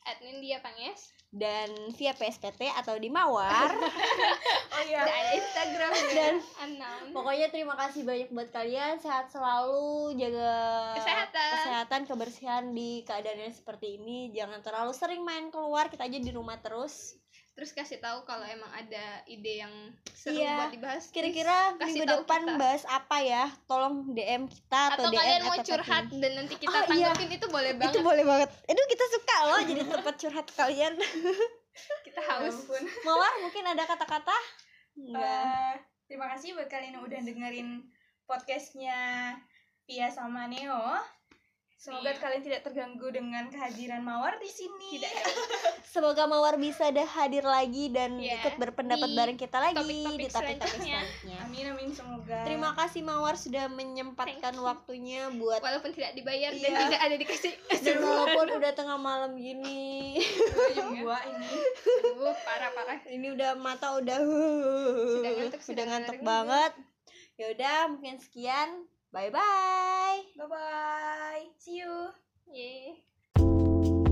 Speaker 2: admin dia panges
Speaker 1: dan via PSPT atau di Mawar
Speaker 3: oh iya
Speaker 2: Udah ada instagram
Speaker 1: Dan-
Speaker 2: unknown
Speaker 1: pokoknya terima kasih banyak buat kalian sehat selalu jaga
Speaker 2: Kesehatan.
Speaker 1: Oh, kesehatan kebersihan di keadaan yang seperti ini jangan terlalu sering main keluar kita aja di rumah terus
Speaker 2: terus kasih tahu kalau emang ada ide yang seru
Speaker 1: Iya.
Speaker 2: buat dibahas
Speaker 1: kira-kira
Speaker 2: Kasih
Speaker 1: minggu
Speaker 2: tahu
Speaker 1: depan
Speaker 2: kita.
Speaker 1: bahas apa ya tolong DM kita atau,
Speaker 2: atau
Speaker 1: DM
Speaker 2: kalian mau
Speaker 1: atau
Speaker 2: curhat dan nanti kita
Speaker 1: Oh, iya.
Speaker 2: tanggepin itu boleh
Speaker 1: apa. itu
Speaker 2: banget
Speaker 1: boleh banget aduh kita suka loh jadi tempat curhat kalian
Speaker 2: kita haus
Speaker 3: ampun
Speaker 1: mawar mungkin ada kata-kata enggak
Speaker 3: Eh, terima kasih buat kalian yang udah dengerin podcastnya Pia sama Neo semoga
Speaker 2: Iya.
Speaker 3: kalian tidak terganggu dengan kehadiran Mawar di sini
Speaker 2: tidak
Speaker 1: semoga mawar bisa dah hadir lagi dan
Speaker 2: Iya,
Speaker 1: ikut berpendapat
Speaker 2: di
Speaker 1: bareng kita lagi
Speaker 2: topik-topik
Speaker 1: di topik-topik
Speaker 2: selanjutnya.
Speaker 1: selanjutnya
Speaker 3: amin amin semoga
Speaker 1: terima kasih mawar sudah menyempatkan
Speaker 2: Thank you.
Speaker 1: waktunya buat
Speaker 2: walaupun tidak dibayar dan
Speaker 1: Iya.
Speaker 2: tidak ada dikasih
Speaker 1: dan walaupun udah tengah malam gini
Speaker 3: kasih gua ini
Speaker 2: Aduh, parah parah
Speaker 1: ini udah mata udah
Speaker 2: Sudah ngantuk, sudah
Speaker 1: udah ngantuk
Speaker 2: ngantuk.
Speaker 1: banget ya udah mungkin sekian bye bye
Speaker 3: bye bye see you
Speaker 2: Yeay.